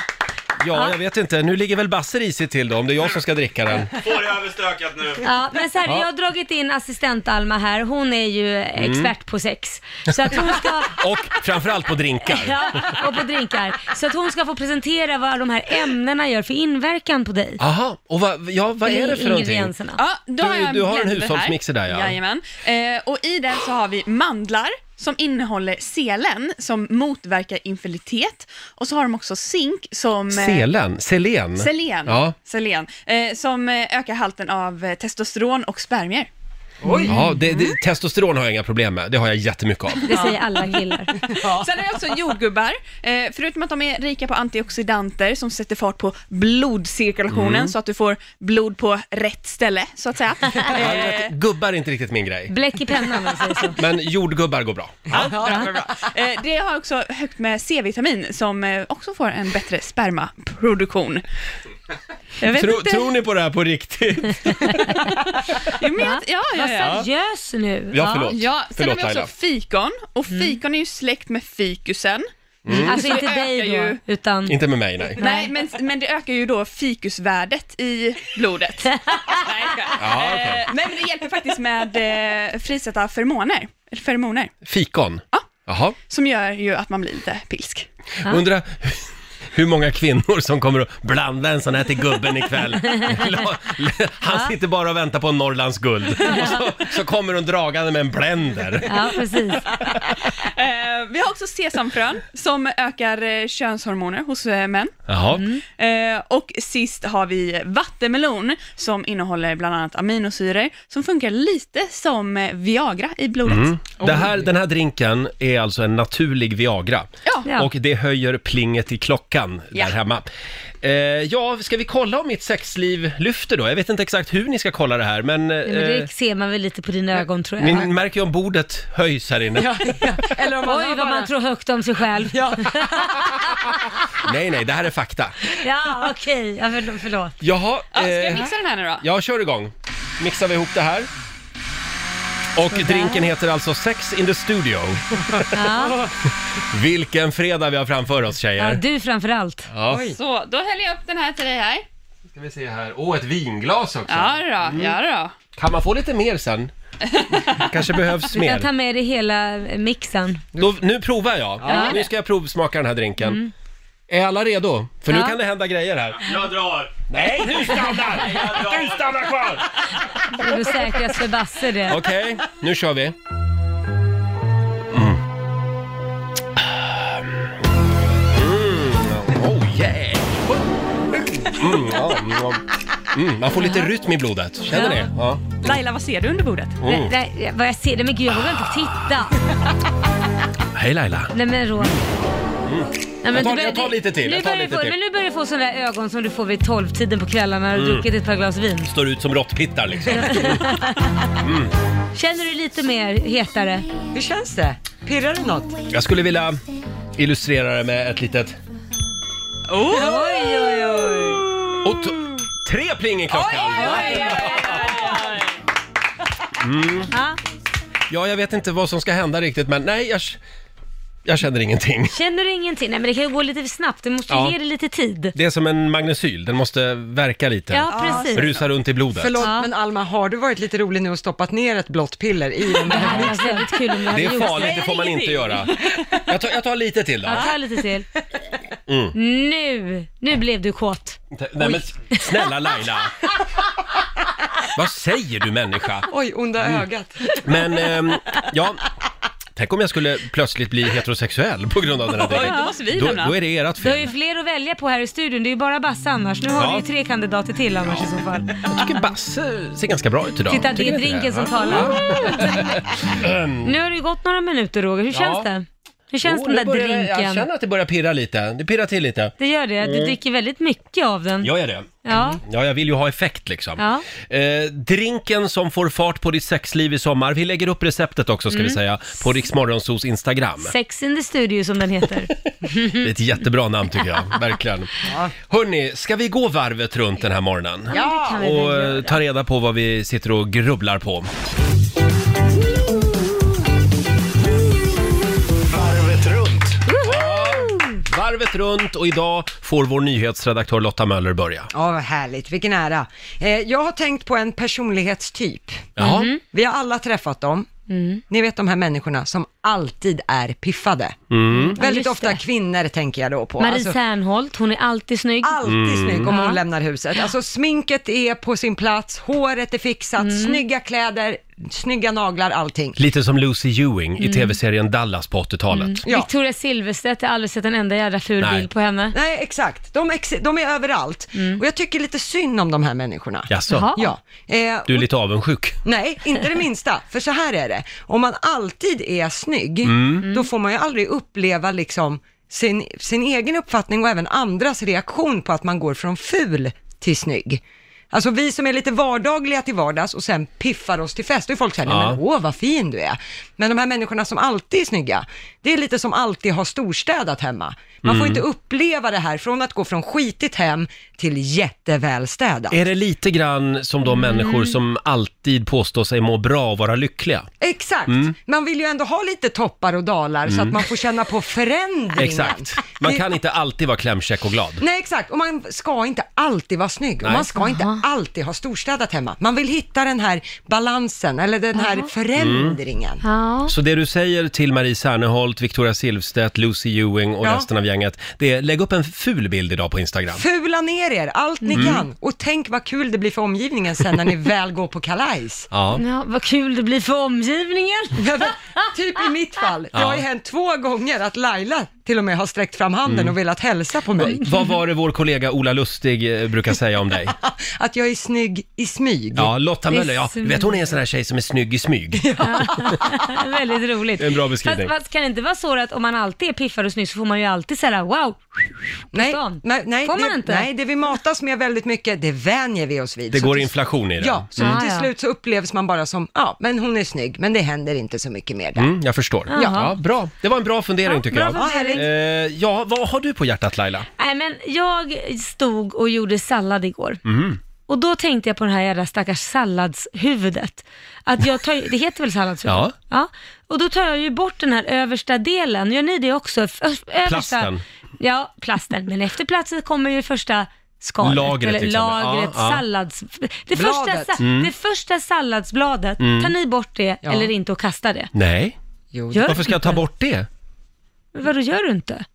Ja, jag vet inte. Nu ligger väl Basse risigt till då, om det är jag som ska dricka den.
Får det överstökat nu.
Ja, men så här,
Ja. Mm.
jag har dragit in assistent-Alma här, hon är ju expert på sex. Så att hon ska...
Och framförallt på drinkar.
Ja, och på drinkar. Så att hon ska få presentera vad de här ämnena gör för inverkan på dig.
Jaha, och vad, ja, vad är det för någonting?
Ingredienserna.
Ja, då
Du-
har jag
du har en
blender här.
hushållsmixer där, ja.
Jajamän. Eh, och i den så har vi mandlar som innehåller selen som motverkar infertilitet och så har de också zink som... eh,
Selen? Selen?
Selen,
Ja.
selen eh, som eh, ökar halten av eh, testosteron och spermier.
Ja, det, det, testosteron har jag inga problem med. Det har jag jättemycket av.
Det säger alla killar.
Sen har vi också jordgubbar. Eh, förutom att de är rika på antioxidanter som sätter fart på blodcirkulationen
Mm.
så att du får blod på rätt ställe, så att säga. Eh,
Gubbar är inte riktigt min grej.
Bläck i pennan om man säger så.
Men jordgubbar går bra.
Ja, bra, bra, bra. Eh, Det har också högt med C-vitamin som eh, också får en bättre spermaproduktion. Jag vet
Tro,
inte.
tror ni på det här på riktigt?
Jag men, ja, ja, ja.
Gös nu.
Ja, förlåt.
ja, sen har
Förlåt,
vi också
Laila.
fikon och fikon är ju släkt med fikusen.
Mm.
Alltså inte
Det
dig
ökar
då,
ju.
utan...
Inte med mig, nej.
Nej, men, men det ökar ju då fikusvärdet i blodet. Nej, jag skojar.
Ja, okej.
Eh, Men det hjälper faktiskt med eh, frisätta feromoner, eller feromoner,
Fikon?
Ja.
Jaha.
som gör ju att man blir lite pilsk.
Undra hur många kvinnor som kommer att blanda en sån här till gubben ikväll. La- la- Han sitter bara och väntar på Norrlands guld. Och så, så kommer hon dragande med en blender.
Ja, precis.
Eh, vi har också sesamfrön som ökar eh, könshormoner hos eh, män.
Jaha.
Eh, och sist har vi vattenmelon som innehåller bland annat aminosyror som funkar lite som eh, Viagra i blodet.
Det här, den här drinken är alltså en naturlig Viagra.
Ja.
Ja.
Och det höjer plinget i klockan
Ja.
där hemma. Eh, ja, ska vi kolla om mitt sexliv lyfter då? Jag vet inte exakt hur ni ska kolla det här, men... Eh,
Nej, men det ser man väl lite på dina ögon tror jag.
ni märker ju om bordet höjs här inne.
Eller om man
Oj,
har
vad
bara...
man tror högt om sig själv. Ja,
Nej, nej, det här är fakta.
okej. Ja, förlåt, förlåt.
Jaha,
Ja, ska jag
eh,
mixa den här nu då?
jag kör igång. Mixar vi ihop det här. Och drinken heter alltså Sex in the Studio.
Ja.
Vilken fredag vi har framför oss
Ja,
tjejer.
du framför allt.
Ja.
Så, då häller jag upp den här till dig här.
Ska vi se här. Åh, ett vinglas också.
Ja då, ja
Mm.
då.
Kan man få lite mer sen? Kanske behövs
Du kan ta
mer.
med dig hela mixen.
Då, nu provar jag.
Ja. Mm.
Nu ska jag provsmaka den här drinken. Är alla redo? För nu
Ja.
kan det hända grejer här.
Jag drar.
Nej, du stannar! Du stannar kvar!
Det är väl säkrast för Basse det.
Okej, nu kör vi. Mm. Mm. Oh yeah! Mm, ja, mm. Mm, man får lite rytm i blodet, känner ni? Ja.
Laila, vad ser du under bordet?
Nej, nej, vad jag ser. Nej, men gud, jag vågar inte titta.
Hej Laila!
Nej, men Roger. Nej, men
Mm. Jag tar-
du börjar-
jag tar lite till,
Nu
jag tar
börjar du
lite
få,
till. Mm.
men nu börjar du få sådana där ögon som du får vid tolvtiden på kvällarna när du har druckit ett par glas vin.
Står ut som råttpittar liksom.
Känner du lite mer hetare?
Hur känns det? Pirrar det något?
Jag skulle vilja illustrera det med ett litet...
Oj, oj, oj.
Och t- tre pling i klockan!
Ja.
Mm. Ja, jag vet inte vad som ska hända riktigt, men nej, jag, jag känner ingenting.
Känner du ingenting? Nej, men det kan ju gå lite för snabbt. Du måste ju
Ja.
ge det lite tid.
Det är som en magnesyl, den måste verka lite.
Ja, precis.
Rusa runt i blodet.
Förlåt,
Ja.
men Alma, har du varit lite rolig nu och stoppat ner ett blått piller i den där?
Det var väldigt kul om jag hade
Det är
gjort
farligt, det får man inte göra. Jag tar, jag tar lite till då.
Ja, ta lite till.
Mm.
Nu, nu blev du kåt.
Nej, men snälla Laila. Vad säger du människa?
Oj, onda ögat.
Men, ehm, ja. Tänk om jag skulle plötsligt bli heterosexuell på grund av den här delen.
Då måste vi
Då,
lämna.
då är det ert
Du har ju
fel.
fler att välja på här i studion. Det är ju bara Basse annars. Nu har
Ja.
du ju tre kandidater till annars i så fall.
Jag tycker Basse ser ganska bra ut idag.
Titta, det
Tycker
är
ni inte
drinken som
va?
talar. Nu har det ju gått några minuter Roger. Hur känns det? Hur känns
Jo,
den
nu
där
börjar det- Jag
drinken?
känner Mm. att det börjar pirra lite. Det pirrar till lite.
Det gör det. Du dricker väldigt mycket av den.
Jag är det.
Ja.
Ja, jag vill ju ha effekt liksom.
Ja.
Eh, drinken som får fart på ditt sexliv i sommar. Vi lägger upp receptet också ska vi
Mm.
säga på Riksmorgonsos Instagram.
Sex in the studio som den heter.
Det är ett jättebra namn tycker jag, verkligen. Hörni, ska vi gå varvet runt den här morgonen?
Ja, det kan vi väl
Och eh,
göra.
ta reda på vad vi sitter och grubblar på.
Varvet runt.
Varvet varvet runt och idag får vår nyhetsredaktör Lotta Möller börja.
Ja, vad härligt. Vilken ära. Eh, jag har tänkt på en personlighetstyp.
Jaha. Mhm.
Vi har alla träffat dem. Ni vet de här människorna som alltid är piffade.
Mm.
Ja,
Väldigt
just
ofta
det.
kvinnor tänker jag då på.
Marie
Alltså,
Serneholt, hon är alltid snygg.
Alltid
Mm.
snygg om
Ja.
hon lämnar huset. Alltså sminket är på sin plats, håret är fixat, snygga kläder, snygga naglar, allting.
Lite som Lucy Ewing i tv-serien Dallas på 80-talet.
Ja.
Victoria Silvstedt, jag har aldrig sett en enda jävla ful
Nej.
bild på henne.
Nej, exakt. De, ex- de är överallt. Och jag tycker lite synd om de här människorna.
Jaså,
Jaha.
Ja. Eh,
du är lite avundsjuk.
Nej, inte det minsta. För så här är det. Om man alltid är snygg, då får man ju aldrig uppleva liksom sin, sin egen uppfattning och även andras reaktion på att man går från ful till snygg. Alltså vi som är lite vardagliga till vardags och sen piffar oss till fest, då är folk såhär,
Ja.
ja. men åh vad fin du är. Men de här människorna som alltid är snygga, det är lite som alltid har storstädat hemma. Man får inte uppleva det här från att gå från skitigt hem till jättevälstädat.
Är det lite grann som de människor som alltid påstår sig må bra och vara lyckliga?
Exakt.
Mm.
Man vill ju ändå ha lite toppar och dalar så att man får känna på förändringen.
Exakt. Man kan inte alltid vara klämkäck och glad.
Nej, exakt. Och man ska inte alltid vara snygg. Och
Nej.
man ska inte alltid ha storstädat hemma. Man vill hitta den här balansen, eller den här förändringen.
Ja.
Så det du säger till Marie Serneholt, Victoria Silvstedt, Lucy Ewing och
Ja.
resten av gänget, det är lägg upp en ful bild idag på Instagram.
Fula ner er, allt ni
Mm.
kan. Och tänk vad kul det blir för omgivningen sen när ni väl går på kalajs.
Ja.
ja, vad kul det blir för omgivningen.
Ja, men typ i mitt fall. Det har ju
Ja.
hänt två gånger att Laila till och med har sträckt fram handen
Mm.
och velat hälsa på mig.
Vad var det vår kollega Ola Lustig eh, brukar säga om dig?
Att jag är snygg i smyg.
Ja, Lotta
Det är
Möller, ja. Du
smyg.
vet hon är en sån här tjej som är snygg i smyg.
Väldigt roligt.
En bra beskrivning.
Fast, fast kan det inte vara så att om man alltid är piffad och snygg så får man ju alltid säga wow.
Nej,
stan.
nej, nej,
Får man
det,
inte?
nej, det vi matas med väldigt mycket, det vänjer vi oss vid.
Det
Så
går
till-
inflation i det.
Ja, så
Mm.
till
Ah, ja.
slut så upplevs man bara som, ja, men hon är snygg, men det händer inte så mycket mer där.
Mm, jag förstår.
Jaha.
Ja, bra. Det var en bra fundering tycker
bra
jag.
fundering.
Eh, ja, vad har du på hjärtat Laila?
Nej men jag stod och gjorde sallad igår.
Mhm.
Och då tänkte jag på det här jävla stackars salladshuvudet. Att jag tar, det heter väl salladshuvud?
Ja.
Och då tar jag ju bort den här översta delen. Gör ni det också? F- ö- översta,
Plasten.
Ja, plasten. Men efter plasten kommer ju första skalet.
Lagret,
eller
till exempel.
lagret,
Ja, Mm. ja.
sallads... Det
Bladet.
första, sa- det första salladsbladet,
Mm.
tar ni bort det
Ja.
eller inte och kastar det?
Nej,
Jo,
Gör
varför ska jag ta
inte.
bort det?
Vadå, gör du inte?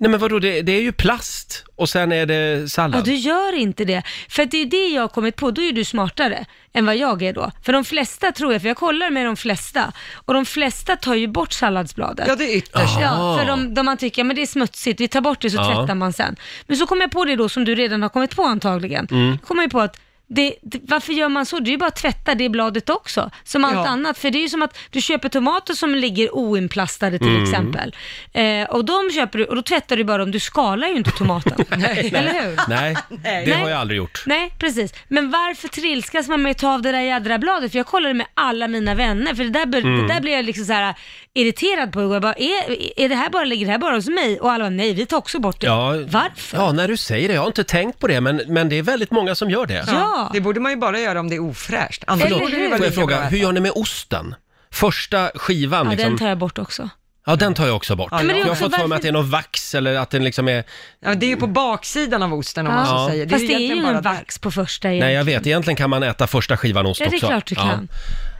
Nej men vadå, det, det är ju plast och sen är det
Ja,
sallad.
du gör inte det. För att det är det jag har kommit på, då är du smartare än vad jag är då. För de flesta tror jag, för jag kollar med de flesta, och de flesta tar ju bort salladsbladet.
ja, det är ytterst.
Ja, för de, de man tycker, men det är smutsigt, vi tar bort det så
Ja.
tvättar man sen. Men så kom jag på det då som du redan har kommit på antagligen.
Mm.
Kommer jag på att det, det, varför gör man så? Det är ju bara att tvätta det bladet också, som allt
Ja.
annat. För det är ju som att du köper tomater som ligger oinplastade till
Mm.
exempel. Eh, och de köper du, och då tvättar du bara dem, du skalar ju inte tomaten. Eller hur?
Nej, det
Nej.
har jag aldrig gjort.
Nej, precis. Men varför trilskas man med att ta av det där jädra bladet? För jag kollade med alla mina vänner, för det där, bör,
Mm.
det där blev jag liksom så här irriterad på. Jag bara, är, är det här bara, ligger det här bara hos mig? Och alla bara, nej, vi tar också bort det.
Ja, liksom.
Varför?
Ja, när du säger det. Jag har inte tänkt på det, men, men det är väldigt många som gör det.
Ja.
Det borde man ju bara göra om det är ofräscht. Annars
Eller
borde det
hur?
vara
Får jag
lika bra
fråga,
att
hur
äta.
gör ni med osten? Första skivan
Ja,
liksom.
den tar jag bort också.
Ja, den tar jag också bort.
men det är
jag har
också
fått för mig
varför-
att det är någon vax eller att den liksom är...
ja, det är ju på baksidan av osten om man
Ja.
så säger.
Fast det är ju
egentligen
ingen
bara där.
vax på första
Nej, jag
egentligen.
vet. Egentligen kan man äta första skivan ost
Ja, det är
också.
klart du kan.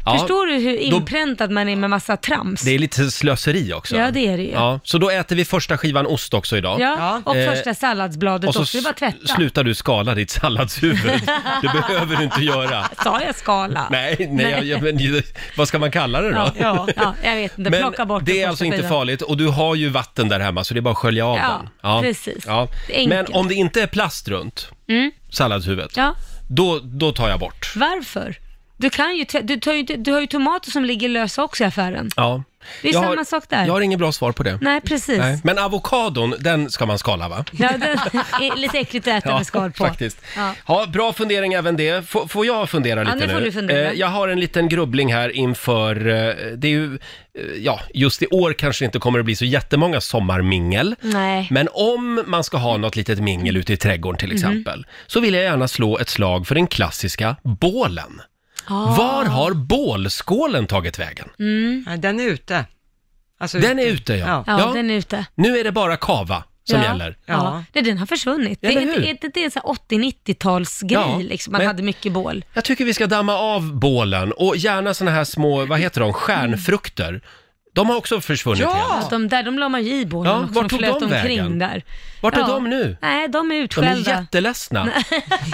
Ja.
Förstår du hur
Då-
inpräntat man är med massa trams?
Det är lite slöseri också.
Ja, det är det ju.
Ja, så då äter vi första skivan ost också idag.
Ja, och
Eh,
första salladsbladet
Och så
också. Det är bara att
s-
tvätta.
slutar du skala ditt salladshuvud. Det behöver du inte göra.
Sa jag skala?
Nej, nej, Jag, jag, men, vad ska man kalla det då?
Ja, ja, ja, jag vet inte.
Men
Plocka bort
det är
första
alltså inte
skivan.
farligt och du har ju vatten där hemma så det är bara att skölja av
Ja,
den.
precis. Det är
Men
enkelt. Mm.
om det inte är plast runt salladshuvudet,
Ja.
då, då tar jag bort.
Varför? Du, kan ju, t- du, tar ju, inte- du har ju tomater som ligger lösa också i affären.
Ja.
Det är
jag
samma
har,
sak där.
Jag har inget bra svar på det.
Nej, precis.
Nej. Men avokadon, den ska man skala va?
Ja, det är lite äckligt att äta med skal på.
faktiskt. Ja.
Ja.
bra fundering även det. F- får jag fundera lite
nu får du fundera.
Eh, jag har en liten grubbling här inför, eh, det är ju, eh, ja, just i år kanske inte kommer det bli så jättemånga sommarmingel.
Nej. Mhm.
Men om man ska ha något litet mingel ute i trädgården till exempel, så vill jag gärna slå ett slag för den klassiska bålen.
Ah.
Var har bålskålen tagit vägen?
Nej, den är ute. Alltså,
Den är ute ja.
Ja.
Ja, den är ute.
Nu är det bara kava som
ja.
gäller.
Ja.
Ja.
Det, den har försvunnit.
Ja,
det,
eller
är,
hur?
det, det, det är en sån här 80-90-talsgrej
Ja,
liksom. Man
men-
hade mycket bål.
Jag tycker vi ska damma av bålen och gärna såna här små, vad heter de, stjärnfrukter. De har också försvunnit
Ja!
helt.
Att de där, de la man ju i bålen
Ja,
också.
vart
de
tog
flöt
de
omkring
vägen?
där.
Vart är de nu?
Nej, de är
De är
utskällda.
jätteledsna.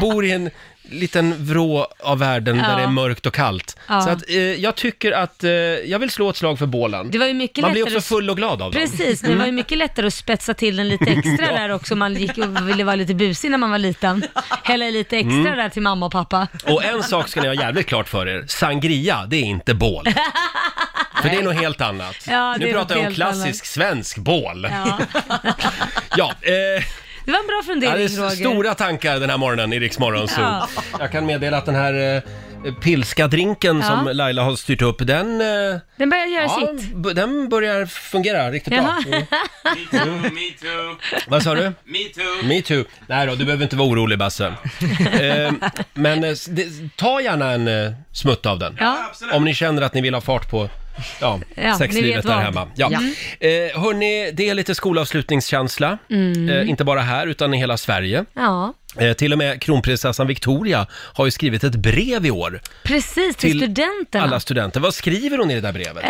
Bor i en liten vrå av världen där
Ja.
det är mörkt och kallt.
Ja.
Så att, eh, jag tycker att, eh, jag vill slå ett slag för bålen.
Det var ju mycket
Man blir
lättare
också full och glad av dem.
Precis, men det var ju mycket lättare att spetsa till den lite extra där också. Man gick och ville vara lite busig när man var liten. Hälla i lite extra
Mm.
där till mamma och pappa.
Och en sak ska ni ha jävligt klart för er. Sangria, det är inte bål. För det är något helt annat.
Ja, det
nu
är
pratar jag
något
om
helt
klassisk
annat.
svensk bål. Ja,
Ja.
eh,
Det var en bra
ja, det
fundering
är
Roger.
stora tankar den här morgonen i Rix Morgon Zoo.
Ja.
Jag kan meddela att den här eh, pilska drinken
Ja.
som Laila har styrt upp, den, eh,
Den börjar göra
ja,
sitt.
b- den börjar fungera riktigt
Jaha.
bra. Mm.
Me too, me too,
Vad sa du?
me too.
Me too. Nej då, du behöver inte vara orolig Basse. eh, men eh, s- det, ta gärna en eh, smutt av den.
Ja.
Om ni känner att ni vill ha fart på ja,
Ja, ni
sexlivet
vet
där
vad.
hemma. Ja. Eh, hörni, det är lite skolavslutningskänsla.
Mm.
Eh, inte bara här, utan i hela Sverige.
Ja,
Eh, till och med kronprinsessan Victoria har ju skrivit ett brev i år
precis till,
Till
studenterna.
alla studenter. Vad skriver hon i det där brevet?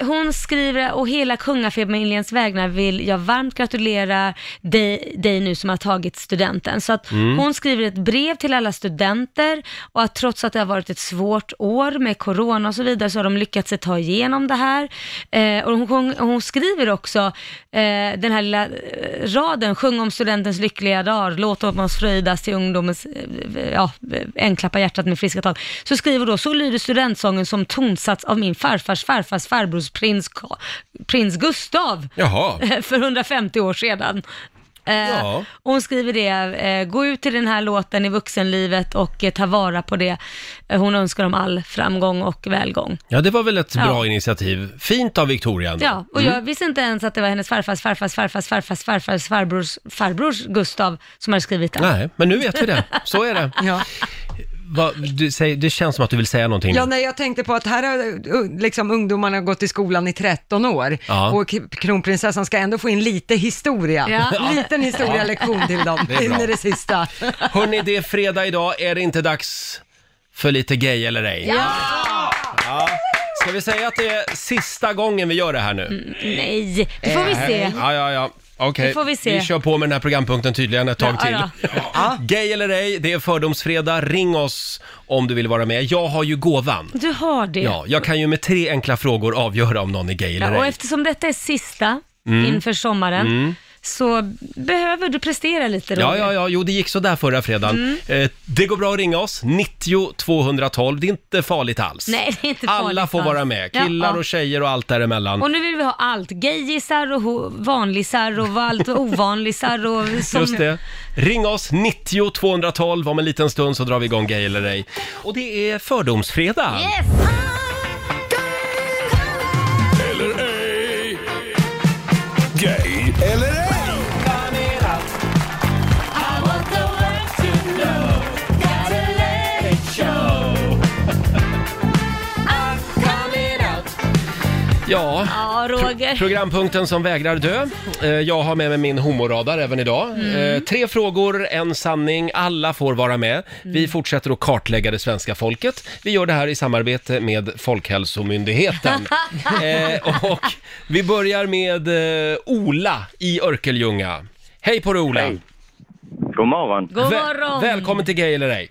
Eh, hon skriver, och hela kungafamiljens vägnar vill jag varmt gratulera dig, dig nu som har tagit studenten. Så att hon skriver ett brev till alla studenter och att trots att det har varit ett svårt år med corona och så vidare så har de lyckats ta igenom det här. Eh, och hon, sjung- hon skriver också eh, den här lilla eh, raden, sjung om studentens lyckliga dagar, låt om oss fröjdas till ungdomens, eh, ja, en klappa hjärtat med friska tag. Så skriver då, så lyder studentsången som tonsats av min farfars farfars farbrors prins, Ka- prins Gustav eh,
Jaha.
för 150 år sedan. Eh,
Ja.
och hon skriver det, eh, gå ut till den här låten i vuxenlivet och eh, ta vara på det. Eh, hon önskar dem all framgång och välgång.
Ja, det var väl ett
Ja.
bra initiativ. Fint av Victoria ändå.
Ja, och jag visste inte ens att det var hennes farfars farfars farfars farfars farfars farbrors farbrors Gustav som hade skrivit den.
Nej, men nu vet vi det. Så är det.
Ja.
Va, du, säger, det känns som att du vill säga någonting.
Ja, nej, jag tänkte på att här har uh, liksom, ungdomarna gått i skolan i 13 år
Ja.
och k- kronprinsessan ska ändå få in lite historia.
Ja.
Liten historielektion till dem
Det är bra.
in i det sista.
Hörni, det är fredag idag. Är det inte dags för lite gay eller ej? Ja! Ska vi säga att det är sista gången vi gör det här nu?
Nej, det Mm. får vi se.
Ja, ja, ja. Okej,
Det får vi se.
vi kör på med den här programpunkten tydligen ett tag
Ja,
till. Gay eller ej, det är fördomsfredag. Ring oss om du vill vara med. Jag har ju gåvan.
Du har det.
Ja, jag kan ju med tre enkla frågor avgöra om någon är gay eller Mm.
och
ej.
eftersom detta är sista inför sommaren så behöver du prestera lite Roger.
Mm. Ja, ja, ja, jo det gick sådär förra fredagen.
Mm.
Eh, det går bra att ringa oss, 90 212, det är inte farligt alls.
Nej, det är inte
Alla
farligt
får
alls.
vara med, killar
Ja, ja.
och tjejer och allt däremellan.
Och nu vill vi ha allt. Gayisar och ho- vanlisar och allt och ovanlisar och som...
Just det. Ring oss, 90 212, om en liten stund så drar vi igång Gay eller ej. Och det är fördomsfredag.
Eller ej. Gay eller ej.
Ja,
Ja, Roger.
programpunkten som vägrar dö. Eh, Jag har med mig min homoradar även idag.
Mm.
Eh, Tre frågor, en sanning, alla får vara med. Vi
Mm.
fortsätter att kartlägga det svenska folket. Vi gör det här i samarbete med Folkhälsomyndigheten. Eh, och vi börjar med eh, Ola i Örkeljunga. Hej på dig Ola!
Hej. God morgon.
God
Väl-
morgon.
välkommen till Gay eller ej.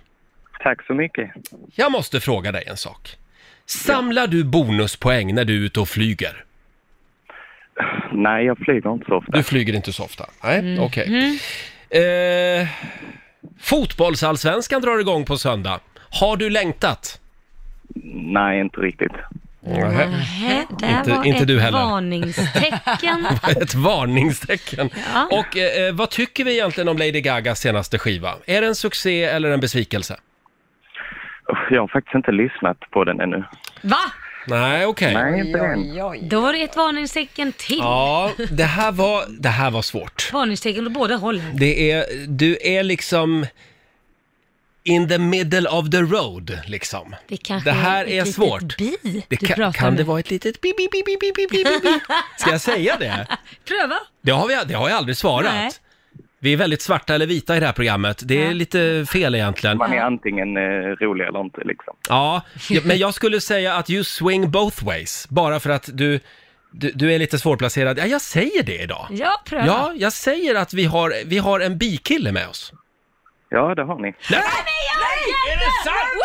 Tack så mycket.
Jag måste fråga dig en sak. Samlar du bonuspoäng när du är ute och flyger?
Nej, jag flyger inte så ofta.
Du flyger inte så ofta? Nej,
Mm.
okej. Eh, fotbollsallsvenskan drar igång på söndag. Har du längtat?
Nej, inte riktigt.
Nähä.
Hä, där
Inte-
var
inte
ett
du heller.
varningstecken.
Ett varningstecken.
Ja.
Och eh, vad tycker vi egentligen om Lady Gagas senaste skiva? Är det en succé eller en besvikelse?
Uff, Jag har faktiskt inte lyssnat på den ännu.
Va?
Nej, okej.
Nej, inte än.
Då var det ett varningstecken till.
Ja, det här var, det här var svårt.
Varningstecken åt båda hållen.
Det är, du är liksom in the middle of the road liksom.
Det, kanske
Det här
ett
är
litet
svårt.
bi
Det
du
kan-
pratar
kan det
med.
vara ett litet bi, bi, bi, bi, bi, bi, bi, bi, bi? Ska jag säga det?
Pröva.
Det har, vi, det har jag aldrig svarat.
Nej.
Vi är väldigt svarta eller vita i det här programmet. Det är lite fel egentligen.
Man är antingen eh, rolig eller inte liksom.
Ja, ja, men jag skulle säga att you swing both ways. Bara för att du, du, du är lite svårplacerad. Ja, jag säger det idag.
Ja, pröva.
Ja, jag säger att vi har, vi har en bikille med oss.
Ja, det har ni.
Nej!
Nej! Är det sant?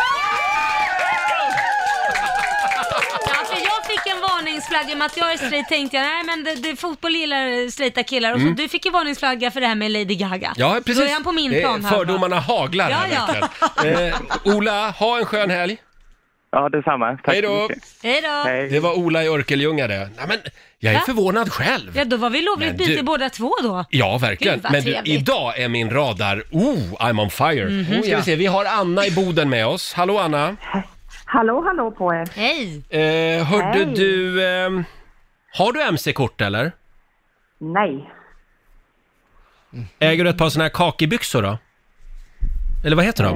Ja, för jag fick en varningsflagga med att jag är straight tänkte jag, nej men det, det, fotboll gillar straighta killar. Och så
Mm.
du fick ju varningsflagga för det här med Lady Gaga.
Ja, precis.
Då är han på min
Det är-
plan här. va?
Fördomarna haglar här
Ja, ja.
verkligen. Eh, Ola, ha en skön helg.
Ja, detsamma. Tack
Hej
så
då!
mycket.
Hej då!
Det var Ola i Örkelljunga det. Nej, men jag är
Va?
förvånad själv.
Ja, då var vi lovligt
Men
byte
du-
båda två då.
Ja, verkligen.
Gud, vad
Men du,
trevligt.
idag är min radar, oh, I'm on fire.
Mhm.
Ska vi se, vi har Anna i Boden med oss. Hallå Anna!
Hallå, hallå på er!
Hej!
Eh, hörde
Hej.
du, ehm, har du mc-kort eller?
Nej,
Äger du ett par sådana här kakibyxor då? Eller vad heter de?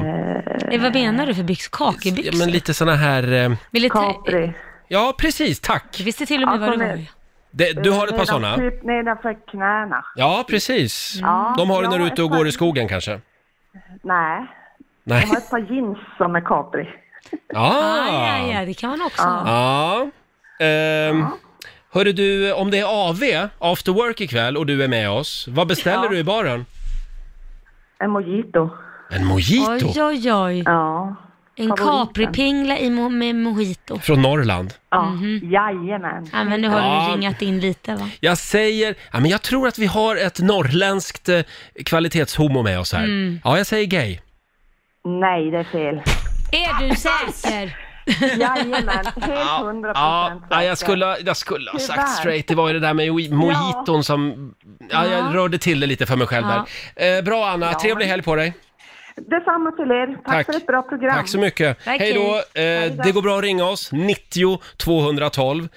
Eh, vad menar du för byxor?
Ja,
Kakebyxor?
men lite sådana här... Eh,
Militär...
Capri.
ja, precis, tack!
Jag visste till och med
Ja,
vad det
kom
var.
igen.
Det, du har ett par
Nedan-
sådana?
Typ nedanför knäna.
Ja, precis.
Ja,
De har du när du är
ja,
ute och går i skogen kanske?
Nej,
Nej.
jag har ett par jeans som är Capri.
Ah.
Ja, ja, det kan man också
Ja.
ha.
Ja. Ehm, hörru du, om det är AV after work ikväll och du är med oss, vad beställer
Ja.
du i baren?
En mojito.
En mojito
Oj, oj, oj.
Ja.
En
Favoriten.
Capri-pingla i mo- med
Mm.
mojito.
från Norrland.
Ja, jajamän.
Ja, men nu har
Ja.
du ringat in lite va?
Jag säger, ja men jag tror att vi har ett norrländskt eh, kvalitetshomo med oss här.
Mm.
Ja, jag säger gay.
Nej, det är fel.
Är du säker?
Jajamän, helt hundra
Ja,
procent.
ja, jag skulle, jag skulle ha sagt
Tyvärr.
straight. Det var ju det där med moj- mojiton som... Ja, jag
Ja.
rörde till det lite för mig själv
Ja.
där. Eh, bra Anna,
Ja.
trevlig helg på dig.
Detsamma till er. Tack,
Tack.
för ett bra program.
Tack så mycket.
Tack,
hej då. Eh,
då.
det går bra att ringa oss, 90 212.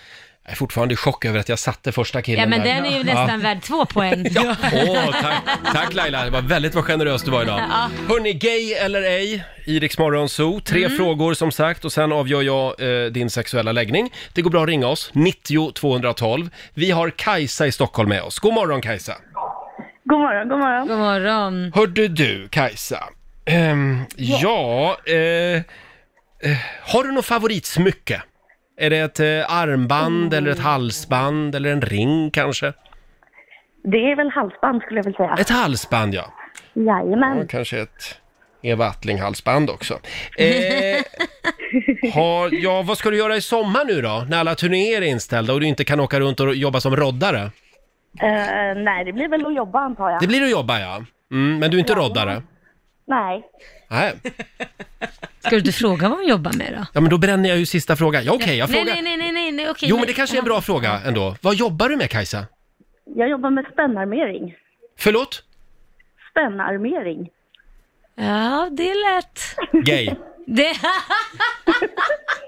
Jag är fortfarande i chock över att jag satte första killen
Ja, men
där.
den är ju nästan värd två poäng. Ja.
Åh, tack, tack Laila. Det var väldigt vad generös du var idag.
Ja.
Hörni, gay eller ej i Rix Morgon Zoo. Tre
Mm.
frågor som sagt och sen avgör jag eh, din sexuella läggning. Det går bra att ringa oss, 90 212. Vi har Kajsa i Stockholm med oss. God morgon Kajsa.
God morgon, god morgon.
God morgon.
Hörde du Kajsa, ehm, ja, eh, eh, har du något favoritsmycke? Är det ett eh, armband
Mm.
eller ett halsband eller en ring kanske?
Det är väl halsband skulle jag vilja säga.
Ett halsband ja.
Jajamän.
Ja, kanske ett Eva Attling-halsband också. Eh, har, ja, vad ska du göra i sommar nu då, när alla turnéer är inställda och du inte kan åka runt och jobba som roddare?
Eh, nej, det blir väl att jobba antar jag.
Det blir att jobba, ja. Mm, men du är inte roddare?
Nej.
Nej.
Ska du inte fråga vad hon jobbar med då?
Ja, men då bränner jag ju sista frågan. Ja, okej, jag
nej,
frågar.
nej, nej, nej, nej, nej, okej.
Jo, men
nej.
det kanske är en bra fråga ändå. Vad jobbar du med, Kajsa?
Jag jobbar med spännarmering.
Förlåt?
Spännarmering.
Ja, det lät...
Gay.
Det...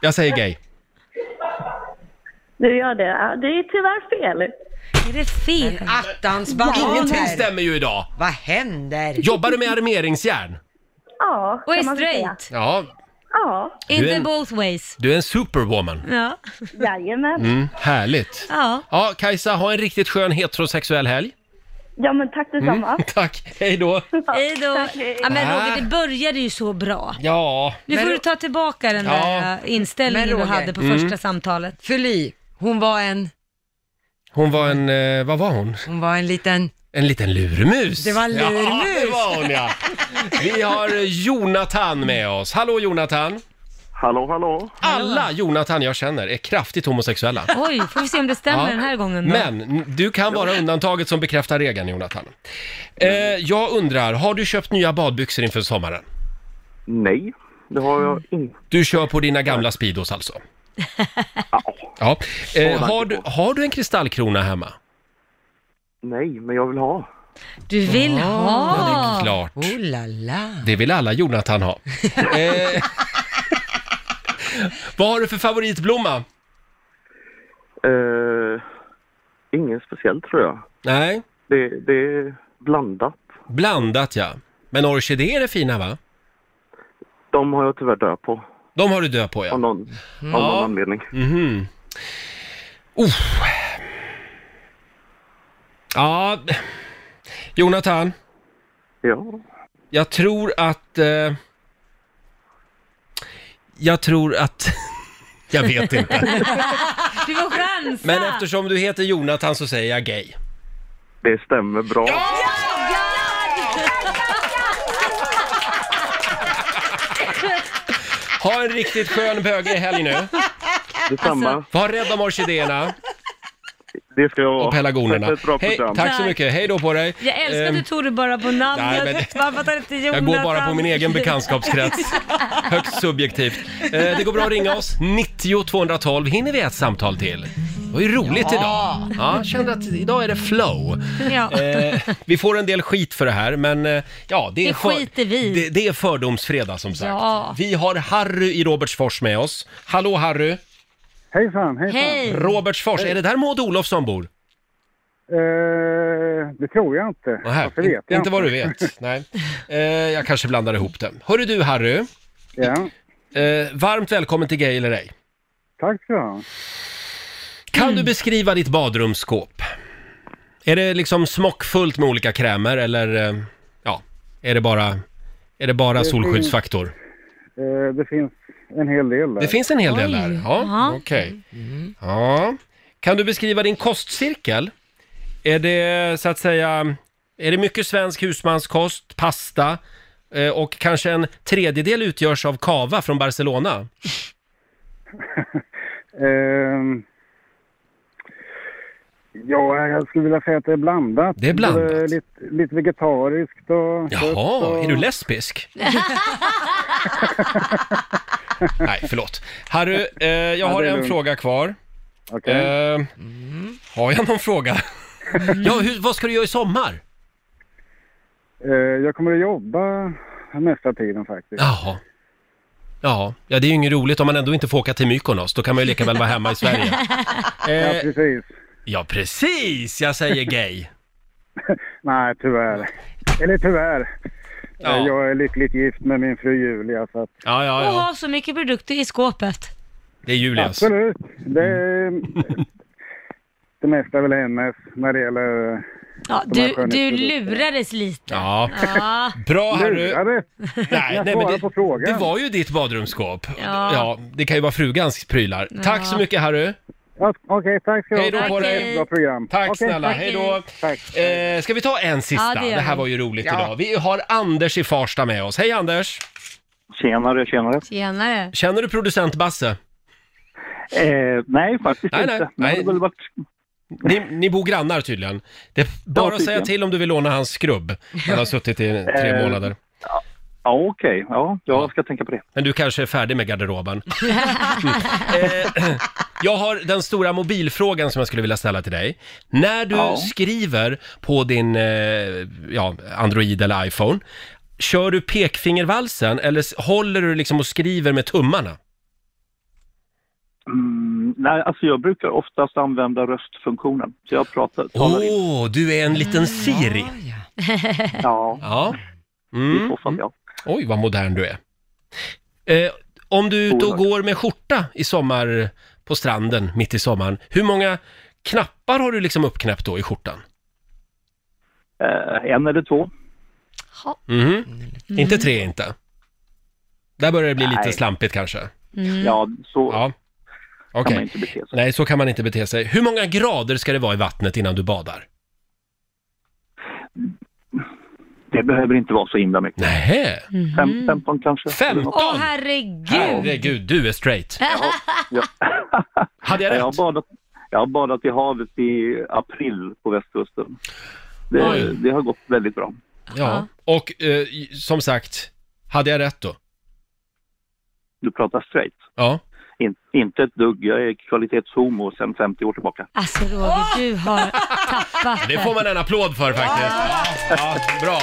Jag säger gay.
Du gör det. Ja, det är tyvärr fel.
Är det fel?
Attans bananer!
Ingenting stämmer ju idag.
Vad händer?
Jobbar du med armeringsjärn?
Ja,
Och är
kan man väl säga.
straight.
Ja,
Ja,
Du
In
är
the
en-
both ways.
du är en superwoman.
Ja.
jajamän.
Mm, härligt.
ja.
Ja, Kajsa, ha en riktigt skön heterosexuell helg.
Ja, men tack detsamma.
Mm. Tack, hej då.
Hej då. Ja, men
Ah.
Roger, det började ju så bra.
Ja,
Nu får du ta tillbaka den
Ja.
där äh, inställningen
Men
du
Roger.
hade på
Mm.
första samtalet.
Fyll i. Hon var en,
hon var en, eh, vad var hon?
hon var en liten...
En liten lurmus.
Det var en
Ja,
lurmus.
det var hon ja. Vi har Jonathan med oss. Hallå Jonathan.
Hallå, hallå.
Alla Jonathan jag känner är kraftigt homosexuella.
Oj, får vi se om det stämmer
Ja.
den här gången då.
Mm.
Men n- du kan vara undantaget som bekräftar regeln Jonathan. Eh, jag undrar, har du köpt nya badbyxor inför sommaren?
Nej, det har
Mm.
jag inte.
Du kör på dina gamla Speedos alltså? Ja. Eh, har, du, har du en kristallkrona hemma?
Nej, men jag vill ha.
Du vill ha.
Ja, det är klart.
Oh la la.
Det vill alla Jonathan ha. eh, vad har du för favoritblomma?
Eh, ingen speciell tror jag.
Nej,
Det, det är blandat.
blandat ja. Men orkidéer är fina va?
De har jag tyvärr död på.
De har du död på ja.
Av någon,
Mm.
av
Ja.
någon anledning.
Mhm. Oh. Ja, Jonathan.
Ja.
Jag tror att... Eh, jag tror att... jag vet inte.
Du får chansa!
Men eftersom du heter Jonathan så säger jag gay.
Det stämmer bra.
Ha en riktigt skön böge i helg nu.
Detsamma.
Var rädd om orkidéerna.
Det ska jag vara.
Och pelargonerna.
Tack för ett bra
Hej,
program.
tack så mycket. Hej då på dig.
Jag älskar att
Ehm,
du tog det bara på namnet.
nej,
Varför tar inte Jonathan?
Jag går bara på min egen bekantskapskrets. Högst subjektivt. Eh, det går bra att ringa oss. 90 212. Hinner vi ett samtal till? Det var ju roligt
Ja.
idag. Ja, jag kände att idag är det flow.
Ja.
Eh, vi får en del skit för det här, men eh, ja, det är,
Det skiter vi i.
det, det är fördomsfredag som sagt.
Ja.
Vi har Harry i Robertsfors med oss. Hallå Harry!
Hejsan, hejsan.
Hej.
Robertsfors,
Hej.
är det där Maud Olofsson bor?
Eh, det tror jag inte.
Nähä,
Varför vet jag
inte vad du vet. Nej. Eh, jag kanske blandar ihop det. Hörru du Harry!
Ja.
Eh, varmt välkommen till Gay eller ej.
Tack ska du ha.
Kan
Mm.
du beskriva ditt badrumsskåp? Är det liksom smockfullt med olika krämer eller eh, ja, är det bara, är det bara
Det finns-
solskyddsfaktor?
Eh, det finns en hel del där.
Det finns en hel del
Oj.
där. Ja,
Jaha.
okej.
Mm.
Ja. Kan du beskriva din kostcirkel? Är det så att säga, är det mycket svensk husmanskost, pasta eh, och kanske en tredjedel utgörs av kava från Barcelona?
Ehm, ja, jag skulle vilja säga att det är blandat.
Det är blandat.
Både Lite, lite vegetariskt och... kött
Jaha,
och...
är du lesbisk? Nej, förlåt. Harry, eh,
Ja,
jag har
det är
en
lugnt.
fråga kvar.
Okej.
Eh, har jag någon fråga? ja, hur, vad ska du göra i sommar?
Eh, jag kommer att jobba mesta tiden faktiskt.
Jaha. Ja, ja, det är ju inget roligt om man ändå inte får åka till Mykonos. Då kan man ju lika väl vara hemma i Sverige.
Ja, precis.
Ja, precis! Jag säger gay.
Nej, tyvärr. Eller tyvärr.
Ja.
Eh, Jag är lyckligt gift med min fru Julia så att...
Ja, ja,
Och ha så mycket produkter i skåpet.
Det är Julias.
Absolut. Det, är,
Mm.
det mesta är väl hennes när det gäller...
Ja,
de här
du, du
skönhetsprodukterna.
lurades lite.
Ja.
Ja.
Bra Harry!
Lurade.
Nej,
Jag
nej, men
svarar
det,
på frågan.
det var ju ditt badrumsskåp.
Ja.
det kan ju vara frugans prylar.
Ja.
Tack så mycket Harry!
Ja, Okej, tack ska du ha.
Hej då på dig.
Bra program.
Tack
Okej,
snälla, hej då! Eh, ska vi ta en sista?
Ja, det
det,
gör
här
vi.
var ju roligt
Ja.
idag. Vi har Anders i Farsta med oss. Hej Anders!
Tjenare, tjenare.
Tjenare.
Känner du producent Basse?
Eh, nej, faktiskt
nej,
inte.
Nej,
Men det
nej.
har väl
Ni, ni bor grannar tydligen. Det är bara att säga
tydligen.
till om du vill låna hans skrubb. Han har suttit i tre
Eh,
månader.
Ja, okej. Ja, jag ska tänka på det.
Men du kanske är färdig med garderoben. Eh, jag har den stora mobilfrågan som jag skulle vilja ställa till dig. När du
Ja.
skriver på din eh, ja, Android eller iPhone, kör du pekfingervalsen eller s- håller du liksom och skriver med tummarna?
Mm, nej, alltså jag brukar oftast använda röstfunktionen. Så jag pratar,
Åh,
talar in.
du är en liten Siri.
Ja,
Ja. Mm. Oj, vad modern du är. Eh, om du är ute och går med skjorta i sommar på stranden mitt i sommaren, hur många knappar har du liksom uppknäppt då i skjortan?
eh, en eller två.
Mhm.
Mm.
Inte tre inte? Där börjar det bli lite
Nej.
slampigt kanske?
Ja, så
Ja. Okej.
man inte bete sig.
Nej, så kan man inte bete sig. Hur många grader ska det vara i vattnet innan du badar?
det behöver inte vara så himla mycket.
Nej.
Fem, 15 kanske.
Femton?
Mhm. Åh herregud.
Herregud, du är straight.
Ja.
Hade jag rätt?
Jag har, badat, jag har badat i havet i april på västkusten. Det,
Oj.
det har gått väldigt bra.
Ja. Och eh, som sagt, hade jag rätt då?
Du pratar straight.
Ja.
In, inte ett dugg. Jag är kvalitetshomo sedan 50 år tillbaka.
Alltså Roger, du har tappat
Det får man en applåd för faktiskt. Ja, bra.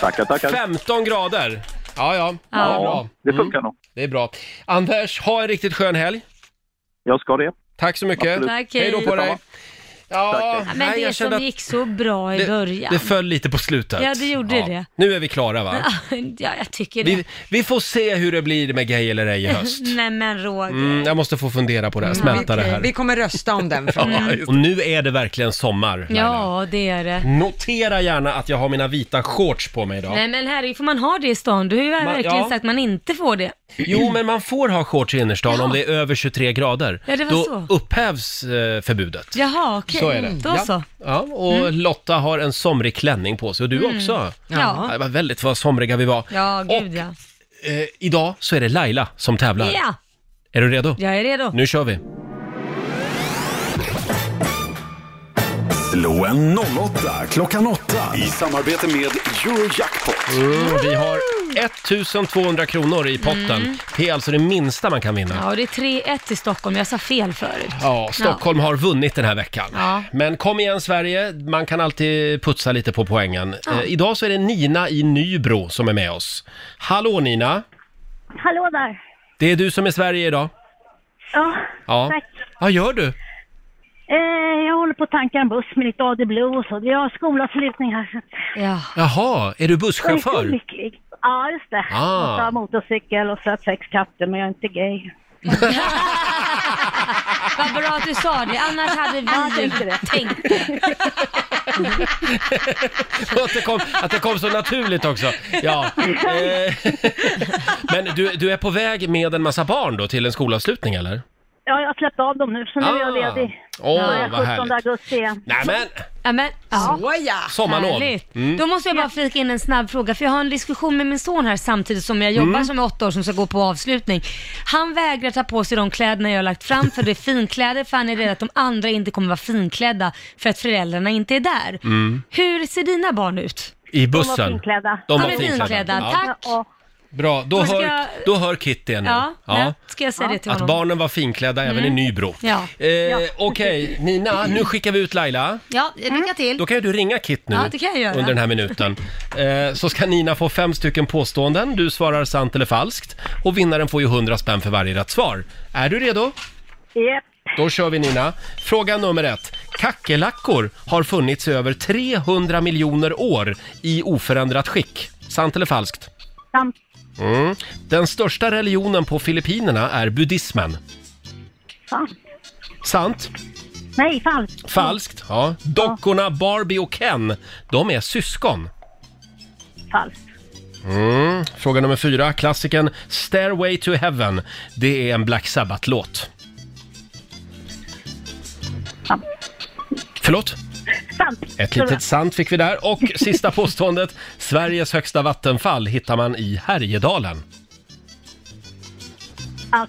Tackar, tackar.
15 grader. Ja, ja. Mm.
Ja, det funkar nog.
Det är bra. Anders, ha en riktigt skön helg.
Jag ska det.
Tack så mycket.
Absolut. Tack, hej.
hej då på dig.
Detsamma.
Ja,
Men
nej,
det
jag kände
som
att
gick så bra i
det,
början.
det föll lite på slutet.
Ja, det gjorde
Ja.
det.
Nu är vi klara va?
Ja, jag tycker det.
Vi, vi får se hur det blir med Gay eller ej i höst.
Nej men Roger.
Mm, jag måste få fundera på det här, smälta det här.
Vi kommer rösta om den frågan.
Ja, och nu är det verkligen sommar.
Ja, det är det.
Notera gärna att jag har mina vita shorts på mig idag.
Nej men herregud, får man ha det i stan? Du har ju verkligen
ja.
sagt att man inte får det.
Jo, men man får ha shorts i innerstan om det är över 23 grader.
Ja, det var
Då
så.
upphävs eh, förbudet.
Jaha, okej.
Så är det.
Då
ja.
så.
Ja, och
Mm.
Lotta har en somrig klänning på sig och du
Mm.
också.
Ja.
Det var väldigt vad somriga vi var.
Ja, gud ja.
Eh, idag så är det Laila som tävlar.
Ja,
Är du redo?
jag är redo.
Nu kör vi.
Slå en 08 klockan 8 i samarbete med Eurojackpot.
Mm, vi har 1200 kronor i potten.
Mm.
Det är alltså det minsta man kan vinna.
Ja, och det är 3-1 i Stockholm. Jag sa fel förut.
Ja, Stockholm har vunnit den här veckan.
Ja.
Men kom igen Sverige, man kan alltid putsa lite på poängen.
Ja.
Eh, idag så är det Nina i Nybro som är med oss. Hallå Nina,
Hallå där.
det är du som är Sverige idag.
Ja,
Ja.
tack.
Vad gör du?
Eh, jag håller på att tanka en buss med lite AD Blue och så. Vi har skolavslutning här.
Ja.
Jaha, är du
Jag är så
busschaufför?
lycklig. Ja, just det.
Ah.
Jag har motorcykel och så har jag sex katter, men jag är inte gay.
Vad bra att du sa det, annars hade vi ju tänkt det.
att, det kom, att det kom så naturligt också. Ja. Eh, Men du, du är på väg med en massa barn då till en skolavslutning eller?
Ja, jag har släppt av dem nu, så nu är jag
Ah.
ledig.
Åh,
ja, jag är
vad härligt.
augusti igen.
Nej men,
Ja, men, ja.
Såja!
Sommarlov.
Härligt.
Mm.
Då måste jag bara flika in en snabb fråga, för jag har en diskussion med min son här samtidigt som jag jobbar
Mm.
som är åtta år som ska gå på avslutning. Han vägrar ta på sig de kläderna jag har lagt fram för det är finkläder, för han är rädd att de andra inte kommer vara finklädda för att föräldrarna inte är där.
Mm.
Hur ser dina barn ut?
i bussen. De var
är
finklädda. Ja.
Tack!
Bra, då
Då ska
hör,
jag-
då hör Kitty henne.
Ja, nej, ska jag säga det till
Att
honom?
barnen var finklädda även i
Mm.
Nybro.
Ja.
Eh, Okej, Nina, nu skickar vi ut Laila.
Ja, lycka till.
Då kan ju du ringa Kit nu
Ja, det kan jag göra.
under den här minuten. Eh, så ska Nina få fem stycken påståenden. Du svarar sant eller falskt. Och vinnaren får ju 100 spänn för varje rätt svar. Är du redo?
Japp.
Då kör vi Nina. Fråga nummer ett. Kackerlackor har funnits i över 300 miljoner år i oförändrat skick. Sant eller falskt?
Sant.
Mm. Den största religionen på Filippinerna är buddhismen.
Sant.
Sant?
Nej, falskt.
Falskt? Ja. Dockorna Barbie och Ken, de är syskon.
Falskt.
Mm. Fråga nummer fyra, klassikern Stairway to Heaven. Det är en Black Sabbath-låt. Förlåt?
Sant.
Ett litet sant fick vi där. Och sista påståendet. Sveriges högsta vattenfall hittar man i Härjedalen.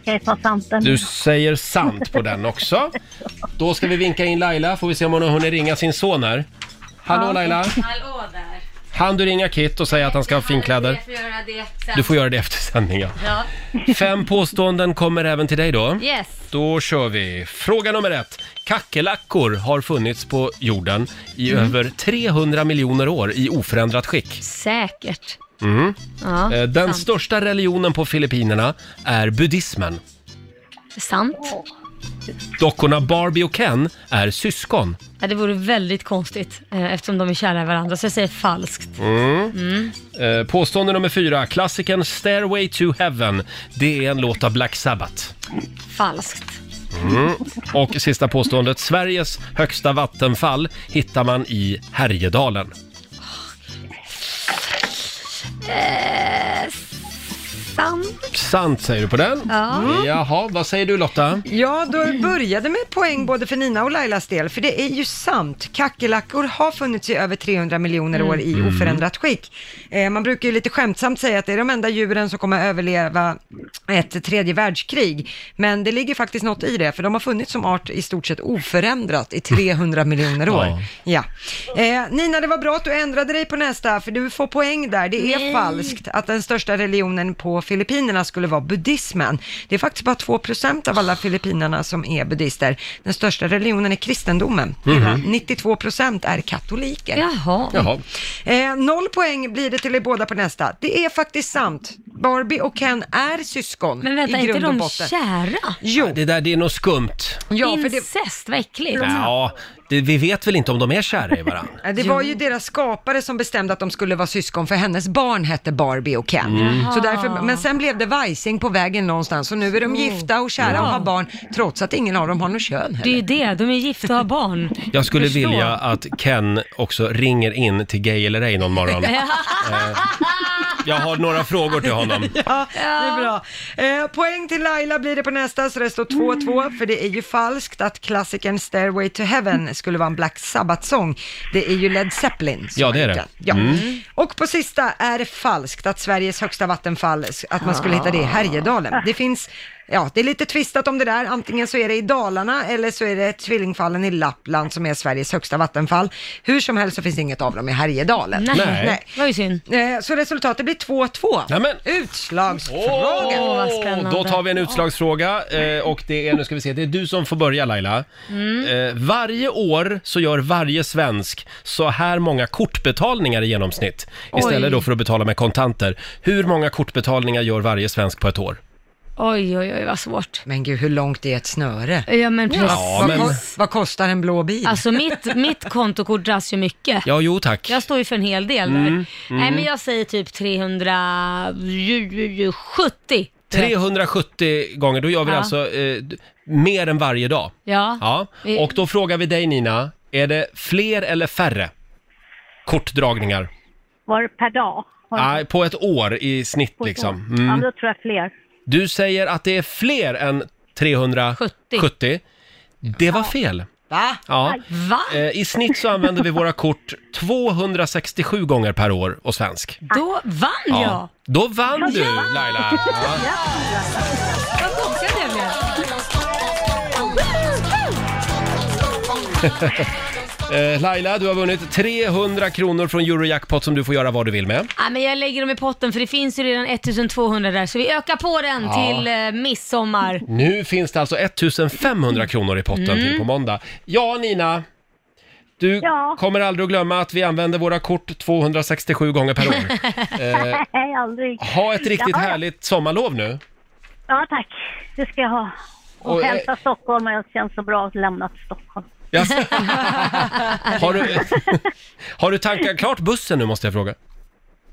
Okej, ta sant den.
Du säger sant på den också. Då ska vi vinka in Laila, får vi se om hon har hunnit ringa sin son här. Hallå Laila!
Hallå där!
Han du ringa Kit och säga att han ska ha finkläder?
Jag får göra det sen.
Du får göra det efter sändningen.
Ja.
Fem påståenden kommer även till dig då.
Yes.
Då kör vi. Fråga nummer ett. Kackerlackor har funnits på jorden i
Mm.
över 300 miljoner år i oförändrat skick.
Säkert.
Mm.
Ja,
Eh, Den
sant.
största religionen på Filippinerna är buddhismen.
Sant.
Dockorna Barbie och Ken är syskon.
Ja, det vore väldigt konstigt eh, eftersom de är kära i varandra, så jag säger falskt.
Mm.
Mm.
Eh, Påstående nummer fyra. Klassikern Stairway to Heaven. Det är en låt av Black Sabbath.
Falskt.
Mm. Och sista påståendet. Sveriges högsta vattenfall hittar man i Härjedalen.
Eh, sant.
Sant säger du på den.
Ja.
Jaha, vad säger du Lotta?
Ja, då började med poäng både för Nina och Lailas del, för det är ju sant. Kackerlackor har funnits i över 300 miljoner år i
Mm.
oförändrat skick. Eh, man brukar ju lite skämtsamt säga att det är de enda djuren som kommer överleva ett tredje världskrig, men det ligger faktiskt något i det, för de har funnits som art i stort sett oförändrat i 300 miljoner år.
Ja.
Ja. Eh, Nina, det var bra att du ändrade dig på nästa, för du får poäng där. Det är
Nej.
falskt att den största religionen på Filippinerna skulle vara buddhismen. Det är faktiskt bara 2% av alla filippinerna som är buddhister. Den största religionen är kristendomen.
Mhm.
92% är katoliker.
Jaha.
Jaha.
Eh, noll poäng blir det till er båda på nästa. Det är faktiskt sant. Barbie och Ken är syskon
Men vänta,
i
är inte
grund och
de
botten.
kära?
Jo. Det där, det är nog skumt.
Ja, för det-
Incest, vad äckligt.
Ja, det, vi vet väl inte om de är kära i varandra.
Ja, Det var ju deras skapare som bestämde att de skulle vara syskon för hennes barn hette Barbie och Ken.
Mm.
Så därför, men sen blev det vajsing på vägen någonstans och nu är de gifta och kära och har barn trots att ingen av dem har något kön
Det är ju det, de är gifta och har barn.
Jag skulle
Förstå.
vilja att Ken också ringer in till Gay eller ej någon morgon. Eh, Jag har några frågor till honom.
Ja, det är bra. Eh, poäng till Laila blir det på nästa, så det står 2-2, för det är ju falskt att klassikern Stairway to Heaven skulle vara en Black Sabbath-sång. Det är ju Led Zeppelin. som
Ja, det är
har gjort
det.
den. Ja.
Mm.
Och på sista är det falskt att Sveriges högsta vattenfall, att man skulle hitta det i Härjedalen. Det finns, ja, det är lite tvistat om det där. Antingen så är det i Dalarna eller så är det Tvillingfallen i Lappland som är Sveriges högsta vattenfall. Hur som helst så finns inget av dem i Härjedalen.
Nej. Nej.
Det var ju synd. Eh, Så resultatet blir 2-2. Utslagsfråga.
Åh, Då tar vi en utslagsfråga eh,
Mm.
och det är, nu ska vi se, det är du som får börja Laila.
Mm.
Eh, Varje år så gör varje svensk så här många kortbetalningar i genomsnitt
Oj.
istället då för att betala med kontanter. Hur många kortbetalningar gör varje svensk på ett år?
Oj, oj, oj, vad svårt.
Men gud, hur långt är ett snöre?
Ja, men precis. Ja,
vad,
men-
ko- vad kostar en blå bil?
Alltså mitt, mitt kontokort dras ju mycket.
Ja, jo tack.
Jag står ju för en hel del där.
Mm,
Nej,
mm.
men jag säger typ 370.
370 gånger, då gör vi
Ja.
alltså eh, d- mer än varje dag.
Ja.
Ja,
Vi-
och då frågar vi dig Nina, är det fler eller färre kortdragningar?
Var det per dag? Har du-
Nej, på ett år i snitt
på ett
liksom.
år? Ja, men då
Mm.
tror jag fler.
Du säger att det är fler än 370. Det var fel.
Va?
Ja.
Va?
Eh, I snitt så använder vi våra kort 267 gånger per år och svensk.
Då vann jag!
Då vann du Laila! Ja.
Vad tokig jag blev.
Eh, Laila, du har vunnit 300 kronor från Eurojackpot som du får göra vad du vill med.
Ja, men jag lägger dem i potten för det finns ju redan 1200 där så vi ökar på den
Ja.
till eh, midsommar.
Nu finns det alltså 1500 kronor i potten
Mm.
till på måndag. Ja, Nina. Du kommer aldrig att glömma att vi använder våra kort 267 gånger per år. Eh,
Nej, aldrig.
ha ett riktigt
ja,
härligt sommarlov nu.
Ja, tack. Det ska jag ha. Och,
Och, eh,
hälsa Stockholm, jag känns så bra att lämna Stockholm.
Har du, har du tankat klart bussen nu måste jag fråga?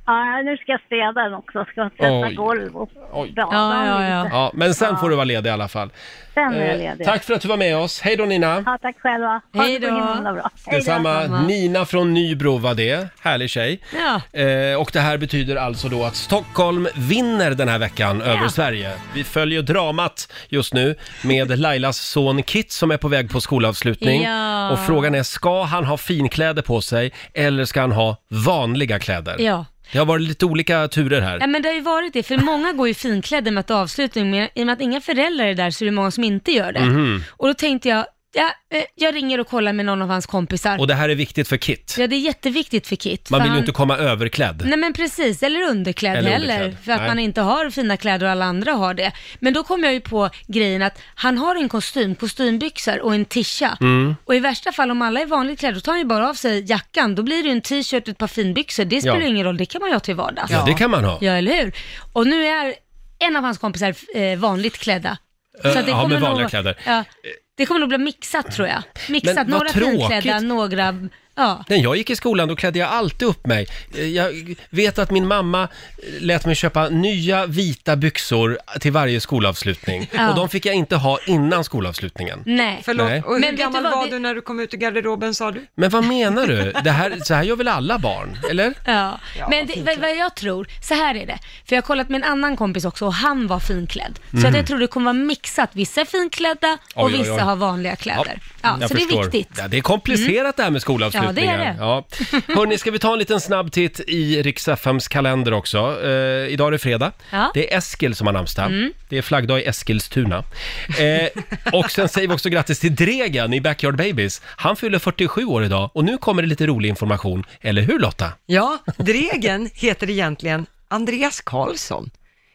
Ja, nu ska jag städa den också. Ska tvätta
Oj.
golv och bada lite.
Ja, men sen får du vara ledig i alla fall.
Sen är jag
Eh,
ledig.
Tack för att du var med oss. Hej då Nina.
Ja, tack själva. Ha
Hej
det så
då.
himla bra. Hej då.
Detsamma. Nina från Nybro var det. Härlig tjej.
Ja.
Eh, och det här betyder alltså då att Stockholm vinner den här veckan över Sverige. Vi följer dramat just nu med Lailas son Kit som är på väg på skolavslutning.
Ja.
Och frågan är, ska han ha finkläder på sig eller ska han ha vanliga kläder?
Ja.
Det har varit lite olika turer här.
Ja men det har ju varit det, för många går ju finklädda med att avslutning, men i och med att inga föräldrar är där så är det många som inte gör det.
Mhm.
Och då tänkte jag, ja, eh, jag ringer och kollar med någon av hans kompisar.
Och det här är viktigt för Kit.
Ja, det är jätteviktigt för Kit.
Man
för
vill ju
han-
inte komma överklädd.
Nej men precis, eller underklädd
Eller
heller.
underklädd,
För att
nej.
man inte har fina kläder och alla andra har det. Men då kom jag ju på grejen att han har en kostym, kostymbyxor och en tisha.
Mm.
Och i värsta fall om alla är vanligt klädda, då tar han ju bara av sig jackan. Då blir det ju en t-shirt och ett par finbyxor. Det spelar
Ja.
ju ingen roll, det kan man ju ha till vardags.
Ja, det kan man ha.
Ja, eller hur? Och nu är en av hans kompisar eh, vanligt klädda.
Eh,
att
ja, med
kommer
vanliga
nog,
kläder.
Ja, det kommer nog bli mixat tror jag. Mixat,
Men vad
några finklädda,
tråkigt.
några... Ja.
När jag gick i skolan då klädde jag alltid upp mig. Eh, Jag vet att min mamma eh, lät mig köpa nya vita byxor till varje skolavslutning.
Ja.
Och de fick jag inte ha innan skolavslutningen.
Nej.
Förlåt,
Nej.
och hur
Men vet du
gammal
vad,
var
det-
du när du kom ut ur garderoben sa du?
Men vad menar du? Det här, så här gör väl alla barn, eller?
Ja,
Ja,
men
vad
det, vad, vad jag tror, så här är det. För jag har kollat med en annan kompis också och han var finklädd. Så att
Mhm.
jag tror det kommer vara mixat. Vissa är finklädda och
Oj, oj,
vissa
oj.
har vanliga kläder. Ja,
jag
så det
förstår.
är viktigt.
Ja, det är komplicerat det här med skolavslutningar.
Ja, det är det.
Ja. Hörni, ska vi ta en liten snabb titt i riks FMs kalender också? Eh, idag är det fredag.
Ja.
Det är Eskil som har namnsdag.
Mm.
Det är flaggdag i Eskilstuna. Eh, och sen säger vi också grattis till Dregen i Backyard Babies. Han fyller 47 år idag och nu kommer det lite rolig information. Eller hur Lotta?
Ja, Dregen heter egentligen Andreas Karlsson.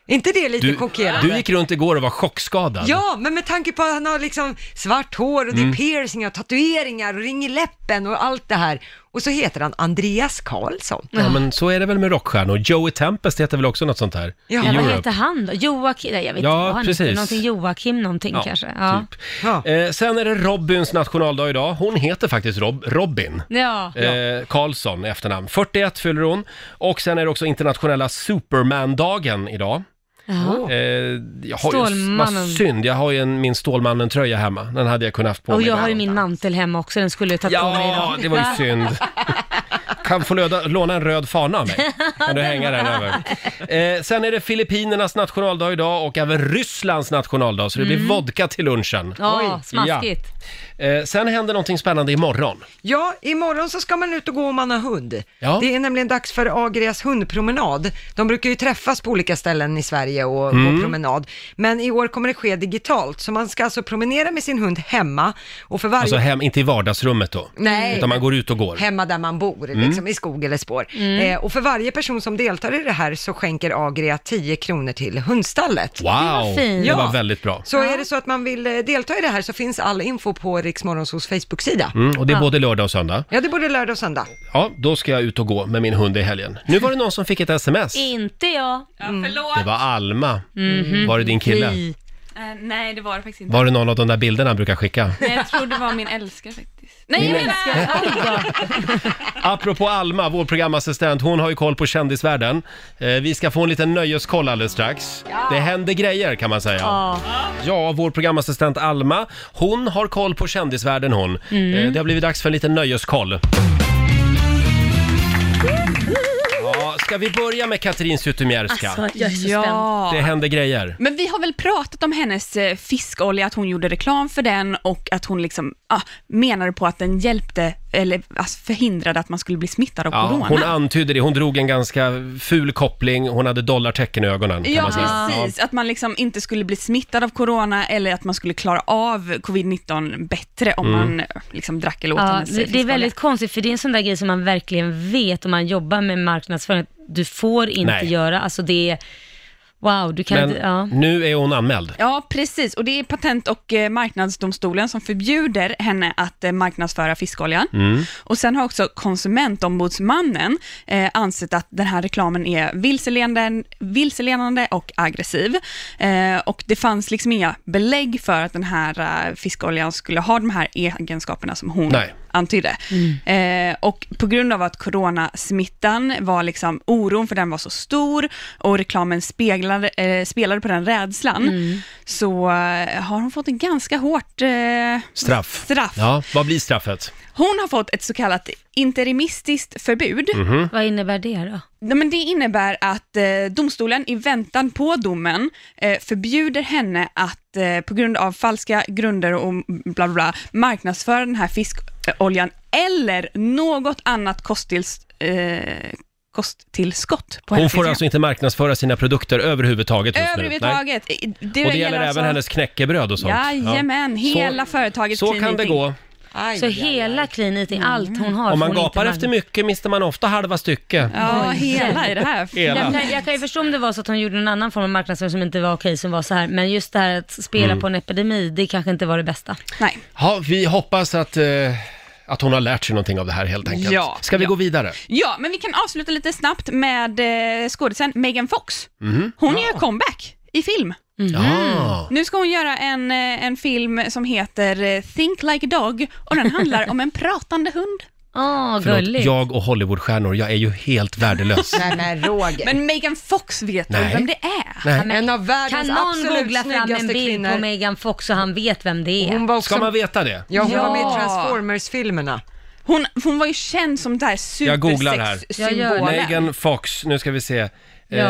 Är inte det lite
Du,
chockerande?
du gick runt igår och var chockskadad.
Ja, men med tanke på att han har liksom svart hår och det är
Mm.
piercingar och tatueringar och ring i läppen och allt det här. Och så heter han Andreas Karlsson.
Ja, men så är det väl med rockstjärnor. Joey Tempest heter väl också något sånt här?
Ja,
I
vad
Europe.
heter han då? Joakim? Nej, jag vet
Ja,
inte vad han heter.
precis.
Någonting Joakim någonting
Ja,
kanske. Ja.
Typ. Eh, sen är det Robins nationaldag idag. Hon heter faktiskt Rob Robin.
Ja.
Eh, Karlsson i efternamn. 41 fyller hon. Och sen är det också internationella Superman-dagen idag.
Jaha.
Eh, jag har ju,
Stålmannen.
vad synd, jag har ju en, min Stålmannen-tröja hemma. Den hade jag kunnat haft på
Och
mig.
jag
ibland.
har ju min mantel hemma också, den skulle jag tagit på mig
Ja,
idag.
det var ju synd. Kan få löda, låna en röd fana av mig. Kan du hänga den över? Eh, sen är det Filippinernas nationaldag idag och även Rysslands nationaldag, så det blir
Mm.
vodka till lunchen.
Ja,
Oj.
smaskigt.
Ja. Eh, sen händer någonting spännande imorgon.
Ja, imorgon så ska man ut och gå om man har hund.
Ja.
Det är nämligen dags för Agrias hundpromenad. De brukar ju träffas på olika ställen i Sverige och
Mm.
gå promenad. Men i år kommer det ske digitalt, så man ska alltså promenera med sin hund hemma och för varje...
Alltså hem, inte i vardagsrummet då.
Nej.
Utan man går ut och går.
Hemma där man bor,
Mm.
liksom, i skog eller spår.
Mm.
Eh, och för varje person som deltar i det här så skänker Agria 10 kronor till hundstallet.
Wow, det var väldigt bra.
Så är det så att man vill eh, delta i det här så finns all info på Riksmorgonsos Facebook-sida.
Mm, och det är
ja.
både lördag och söndag.
Ja, det är både lördag och söndag.
Ja, då ska jag ut och gå med min hund i helgen. Nu var det någon som fick ett sms.
Inte jag.
Ja, förlåt.
Mm. Det var Alma.
Mhm.
Var det din kille?
Eh, nej, det var det faktiskt inte.
Var det någon av de där bilderna han brukar skicka?
Nej, jag tror det var min älskare faktiskt. Nej,
Min
jag älskare!
Apropå Alma, vår programassistent, hon har ju koll på kändisvärlden. Eh, vi ska få en liten nöjeskoll alldeles strax. Det händer grejer kan man säga.
Ja.
Ja, vår programassistent Alma, hon har koll på kändisvärlden hon.
Mm.
Eh, det har blivit dags för en liten nöjeskoll. Ja, ska vi börja med Katrin Zytomierska?
Alltså, jag är så Ja. spänd.
Det händer grejer.
Men vi har väl pratat om hennes eh, fiskolja, att hon gjorde reklam för den och att hon liksom ah, menade på att den hjälpte, eller alltså, förhindrade att man skulle bli smittad av
Ja,
corona.
hon antydde det, hon drog en ganska ful koppling, hon hade dollartecken i ögonen. Kan
Ja,
man säga.
precis. Att man liksom inte skulle bli smittad av corona eller att man skulle klara av covid-19 bättre om
Mm.
man eh, liksom drack eller åt
Ja,
hennes
det, det är
fiskolja.
väldigt konstigt för det är en sån där grej som man verkligen vet om man jobbar med marknadsföring att du får inte
Nej.
göra. Alltså det är, wow, du kan
Men
inte, ja.
nu är hon anmäld.
Ja, precis. Och det är Patent och eh, marknadsdomstolen som förbjuder henne att eh, marknadsföra fiskoljan.
Mm.
Och sen har också konsumentombudsmannen eh, ansett att den här reklamen är vilseledande, vilseledande och aggressiv. Eh, och det fanns liksom inga belägg för att den här eh, fiskoljan skulle ha de här egenskaperna som hon
Nej.
antydde. Eh, och på grund av att coronasmittan var liksom, oron för den var så stor och reklamen speglade, eh, spelade på den rädslan,
Mm.
så eh, har hon fått en ganska hårt eh,
Straff.
straff.
Ja, vad blir straffet?
Hon har fått ett så kallat interimistiskt förbud.
Mhm.
Vad innebär det då?
Nej, men det innebär att eh, domstolen i väntan på domen eh, förbjuder henne att eh, på grund av falska grunder och bla bla, bla marknadsföra den här fiskoljan eller något annat kosttills, eh, kosttillskott på
Hon
hennes
får
Instagram.
alltså inte marknadsföra sina produkter överhuvudtaget just nu.
Överhuvudtaget. Det,
Nej. Och det gäller
alltså-
även hennes knäckebröd och sånt.
Jajamän,
Ja.
hela företagets
så kan
clean
det
eating.
gå.
så hela clean eating, allt hon har
Om man
får hon
gapar
inte
efter mycket mister man ofta halva stycket.
Ja, hela i det här.
Hela.
Jag kan, jag kan ju förstå om det var så att hon gjorde en annan form av marknadsföring som inte var okej, som var så här. Men just det här att spela
Mm.
på en epidemi, det kanske inte var det bästa.
Nej.
Ja, vi hoppas att, eh, att hon har lärt sig någonting av det här helt enkelt.
Ja,
Ska vi
ja.
gå vidare?
Ja, men vi kan avsluta lite snabbt med eh, skådisen Megan Fox.
Mhm.
Hon gör comeback i film.
Ja.
Nu ska hon göra en, eh, en film som heter eh, Think Like a Dog och den handlar om en pratande hund.
Åh,
Förlåt, jag och Hollywoodstjärnor, jag är ju helt värdelös.
Nej men Roger.
Men Megan Fox vet
Nej.
väl vem det är?
Nej.
En av
Kan
världens
någon
absolut
googla fram en
snyggaste
bild
kvinnor.
på Megan Fox så han vet vem det är?
Hon var också-
Ska man veta det?
Ja, hon var med i
Ja.
Transformers-filmerna.
Hon, hon var ju känd som det här
Jag googlar här.
supersexsymbolen.
Megan Fox, nu ska vi se.
Ja.
Eh,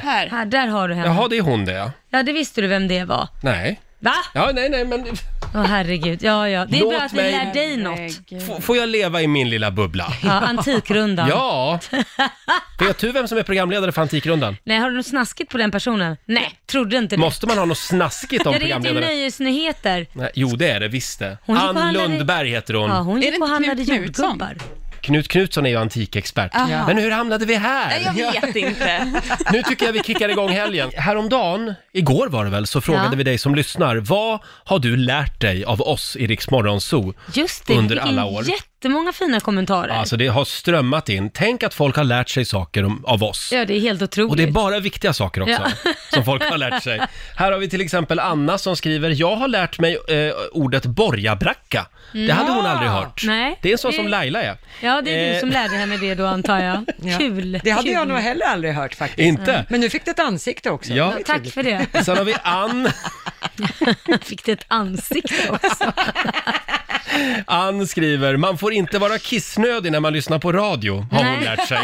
Här.
här, där har du henne.
jaha, det är hon det ja.
Ja, det visste du vem det var.
Nej.
Va?
Ja, nej, nej, men...
Åh herregud, ja, ja. Det är
Låt
bra att vi
mig-
lär dig något.
F- får jag leva i min lilla bubbla?
Ja, Antikrundan.
Ja. Vet du vem som är programledare för Antikrundan?
Nej, har du något snaskigt på den personen? Nej, trodde inte det.
Måste man ha något snaskigt om
Jag ringde till
programledare?
Nöjesnyheter.
Nej, jo, det är det visst det.
Hon gick på
Ann
handlade-
Lundberg heter hon.
Ja, hon
Är
gick
det
på
inte
handlade
Knut Knutsson?
jordgubbar.
Knut Knutsson är ju antikexpert.
Aha.
Men hur hamnade vi här?
Nej, jag vet inte.
Nu tycker jag vi kickar igång helgen. Häromdagen, igår var det väl, så frågade
Ja.
vi dig som lyssnar, vad har du lärt dig av oss i Riksmorgon Zoo
Just det,
under
vilken
alla år?
jättemånga fina kommentarer.
Alltså det har strömmat in. Tänk att folk har lärt sig saker om, av oss.
Ja, det är helt otroligt.
Och det är bara viktiga saker också
Ja.
som folk har lärt sig. Här har vi till exempel Anna som skriver, jag har lärt mig eh, ordet borgabracka. Det hade hon
Ja.
aldrig hört.
Nej.
Det är en sån
Det-
som Laila är.
Ja, det är
Eh.
du som lärde henne det då antar jag. Kul.
Det hade
kul.
jag nog heller aldrig hört faktiskt.
Inte? Mm.
Men nu fick du ett ansikte också.
Ja.
Det är
Tack
trevligt.
för det.
Sen har vi Ann.
Fick det ett ansikte också.
Ann skriver, man får inte vara kissnödig när man lyssnar på radio, har hon
Nej.
lärt sig.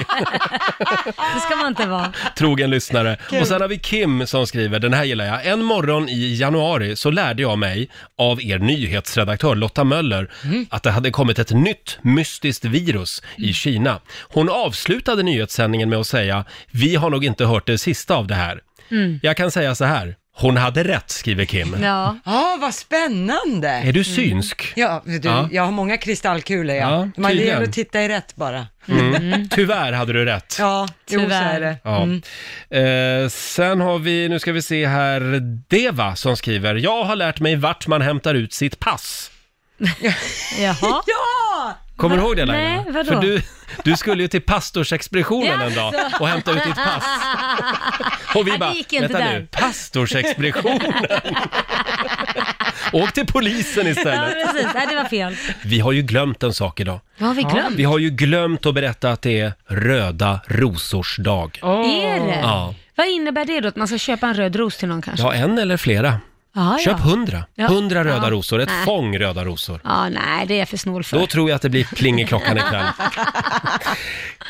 Det ska man inte vara.
Trogen lyssnare.
Kul.
Och sen har vi Kim som skriver, den här gillar jag. En morgon i januari så lärde jag mig av er nyhetsredaktör Lotta Möller
Mm.
att det hade kommit ett nytt mystiskt virus i Kina. Hon avslutade nyhetssändningen med att säga, vi har nog inte hört det sista av det här.
Mm.
Jag kan säga så här, hon hade rätt, skriver Kim.
Ja. Mm.
Ja, vad spännande.
Är du synsk?
Ja, du,
Ja.
jag har många kristallkulor ja.
Ja,
Man det
tydligen.
gäller att titta i rätt bara.
Mm. Tyvärr hade du rätt.
Ja, jo, så är det.
Ja.
Mm.
Eh, sen har vi, nu ska vi se här, Deva som skriver, jag har lärt mig vart man hämtar ut sitt pass.
Jaha.
Ja!
Kommer du ihåg det Laila?
Nej, vadå?
För du, du skulle ju till pastorsexpeditionen en dag och hämta ut ditt pass. Och vi
Nej,
bara,
det gick inte
vänta
där.
nu, pastorsexpeditionen? Åk till polisen
Ja,
istället.
precis. Nej, det var fel.
Vi har ju glömt en sak idag.
Vad har vi glömt?
Vi har ju glömt att berätta att det är röda rosors dag.
Är det?
Ja.
Vad innebär det då? Att man ska köpa en röd ros till någon kanske?
Ja, en eller flera.
Ah, Ja,
Köp
ja.
hundra.
Ja.
Hundra röda
Ja.
rosor, ett
Nej.
fång röda rosor.
Ja, nej, det är jag för snål för.
Då tror jag att det blir pling i klockan ikväll.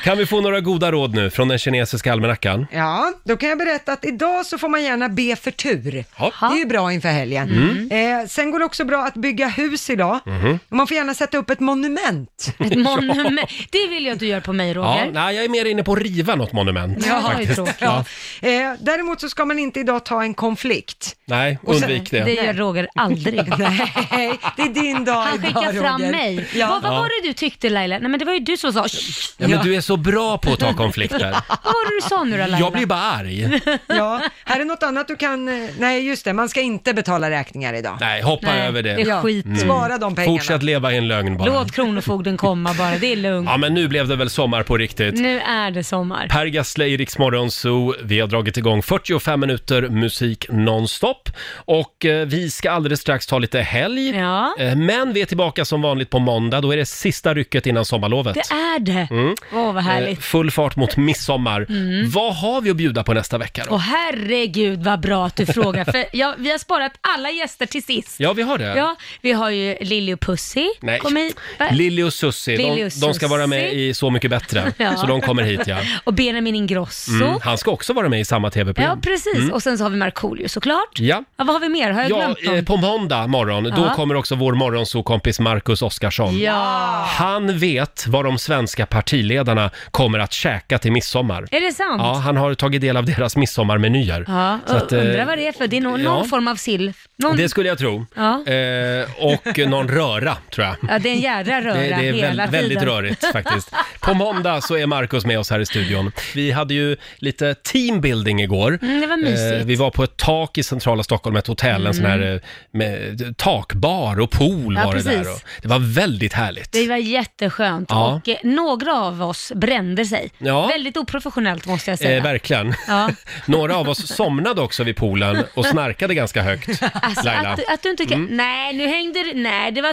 kan vi få några goda råd nu från den kinesiska almanackan?
Ja, då kan jag berätta att idag så får man gärna be för tur.
Ja. Mm.
Det är ju bra inför helgen. Eh, sen går det också bra att bygga hus idag.
Mhm.
Och man får gärna sätta upp ett monument.
Ett monument.
Det vill jag att du gör på mig,
Ja,
Roger.
nej, jag är mer inne på att riva något monument.
Ja,
faktiskt.
det är tråkigt.
Ja.
Eh, däremot så ska man inte idag ta en konflikt.
Nej,
Och sen-
undvik det.
Det gör Roger aldrig.
Nej, det är din dag
Han skickar
idag,
fram
Roger.
mig.
Ja.
Vad, vad
Ja.
var det du tyckte Laila? Nej men det var ju du som sa "Shh."
Ja, men du är så bra på att ta konflikter.
Vad var det du sa nu då Laila?
Jag blir bara arg.
ja, här är något annat du kan... eh, Nej, just det, man ska inte betala räkningar idag.
Nej, hoppa
Nej,
över det.
det är skit. Spara de pengarna.
Fortsätt leva i en lögn bara.
Låt Kronofogden komma bara, det är lugnt.
Ja, men nu blev det väl sommar på riktigt.
Nu är det sommar.
Per Gessle i Rix Morgon Zoo. Vi har dragit igång 45 minuter musik nonstop. Och eh, vi ska alldeles strax ta lite helg. Eh, men vi är tillbaka som vanligt på måndag. Då är det sista rycket innan sommarlovet.
Det är det. Åh
Mm.
vad härligt.
Eh, full fart mot midsommar.
Mm.
Vad har vi att bjuda på nästa vecka då?
Åh herregud vad bra att du frågar, för jag, vi har sparat alla gäster till sist.
Ja, vi har det.
Ja, vi har ju Lili och Pussy.
Nej.
Kom hit. Va?
Lili och Susie,
Lili
de,
och
de ska vara med
Susie.
i Så mycket bättre.
Ja.
Så de kommer hit ja.
Och Benjamin Ingrosso.
Mm. Han ska också vara med i samma
Ja,
tv-program.
precis.
Mm.
Och sen så har vi Markoolio såklart.
Ja.
Ja, vad har vi mer? Har jag
Ja,
glömt någon?
eh, på måndag morgon, då
Ja.
kommer också vår morgonsokompis Marcus Oskarsson.
Ja.
Han vet vad de svenska partiledarna kommer att käka till midsommar.
Är det sant?
Ja, han har tagit del av deras midsommarmenyer.
Ja,
Så att, eh,
undrar vad det är för. Det är någon, någon
ja.
form av sill. Någon...
Det skulle jag tro.
Ja.
Eh, och någon röra, tror jag.
Ja, det är en jädra röra
Det, det är
hela
väl,
tiden.
väldigt rörigt faktiskt. På måndag så är Markus med oss här i studion. Vi hade ju lite teambuilding igår. Eh,
Mm, det var mysigt. Mm.
vi var på ett tak i centrala Stockholm, ett hotell, en sån här eh, med, takbar och pool
Ja,
var det där.
precis.
Och, det var väldigt härligt.
Det var jätteskönt
Ja.
och eh, några av oss brände sig.
Ja.
Väldigt oprofessionellt måste jag säga.
Eh, verkligen.
Ja.
Några av oss somnade också vid poolen och snarkade ganska högt,
Alltså
Laila. Mm.
att, du- att du inte kan... Nej, nu hängde du... Nej, det var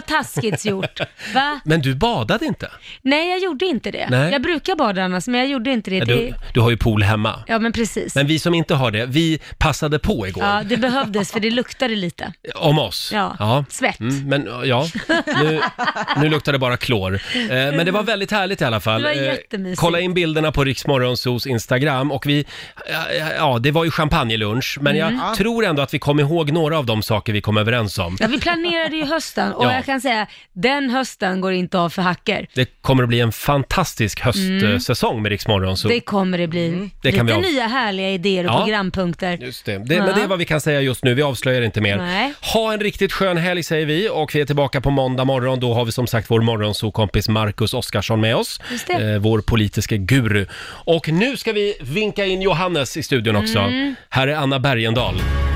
taskigt gjort. Va?
Men du badade inte?
Nej, jag gjorde inte det.
Nej.
Jag brukar bada annars, men jag gjorde inte det.
Ja,
det...
Du, du har ju pool hemma.
Ja, men precis.
Men vi som inte har det, vi passade på igår.
Ja, det behövdes för det luktade lite.
Om oss?
Ja, svett.
Mm, men ja, nu, nu luktar det bara klor. Eh, men det var väldigt härligt i alla fall.
Det var
Eh,
jättemysigt.
kolla in bilderna på Riksmorgonsos Instagram och vi, ja, ja, ja, det var ju champagnelunch, men
Mm.
jag tror ändå att vi kom ihåg några av de saker vi kom överens om.
Ja, vi planerade ju hösten och
Ja.
jag kan säga, den hösten går inte av för hacker.
Det kommer att bli en fantastisk
Mm.
höstsäsong med Riksmorgonso.
Det kommer det bli.
Mm. Det kan
Lite
vi av-
nya härliga idéer och
Ja.
programpunkter.
Just det. Det, men det är vad vi kan säga just nu, vi avslöjar inte mer.
Nej.
Ha en riktigt skön helg säger vi och vi är tillbaka på måndag morgon. Då har vi som sagt vår morgonsokompis Marcus Oskarsson med oss. Eh,
Just det.
vår politiska guru. Och nu ska vi vinka in Johannes i studion också.
Mm.
Här är Anna Bergendahl.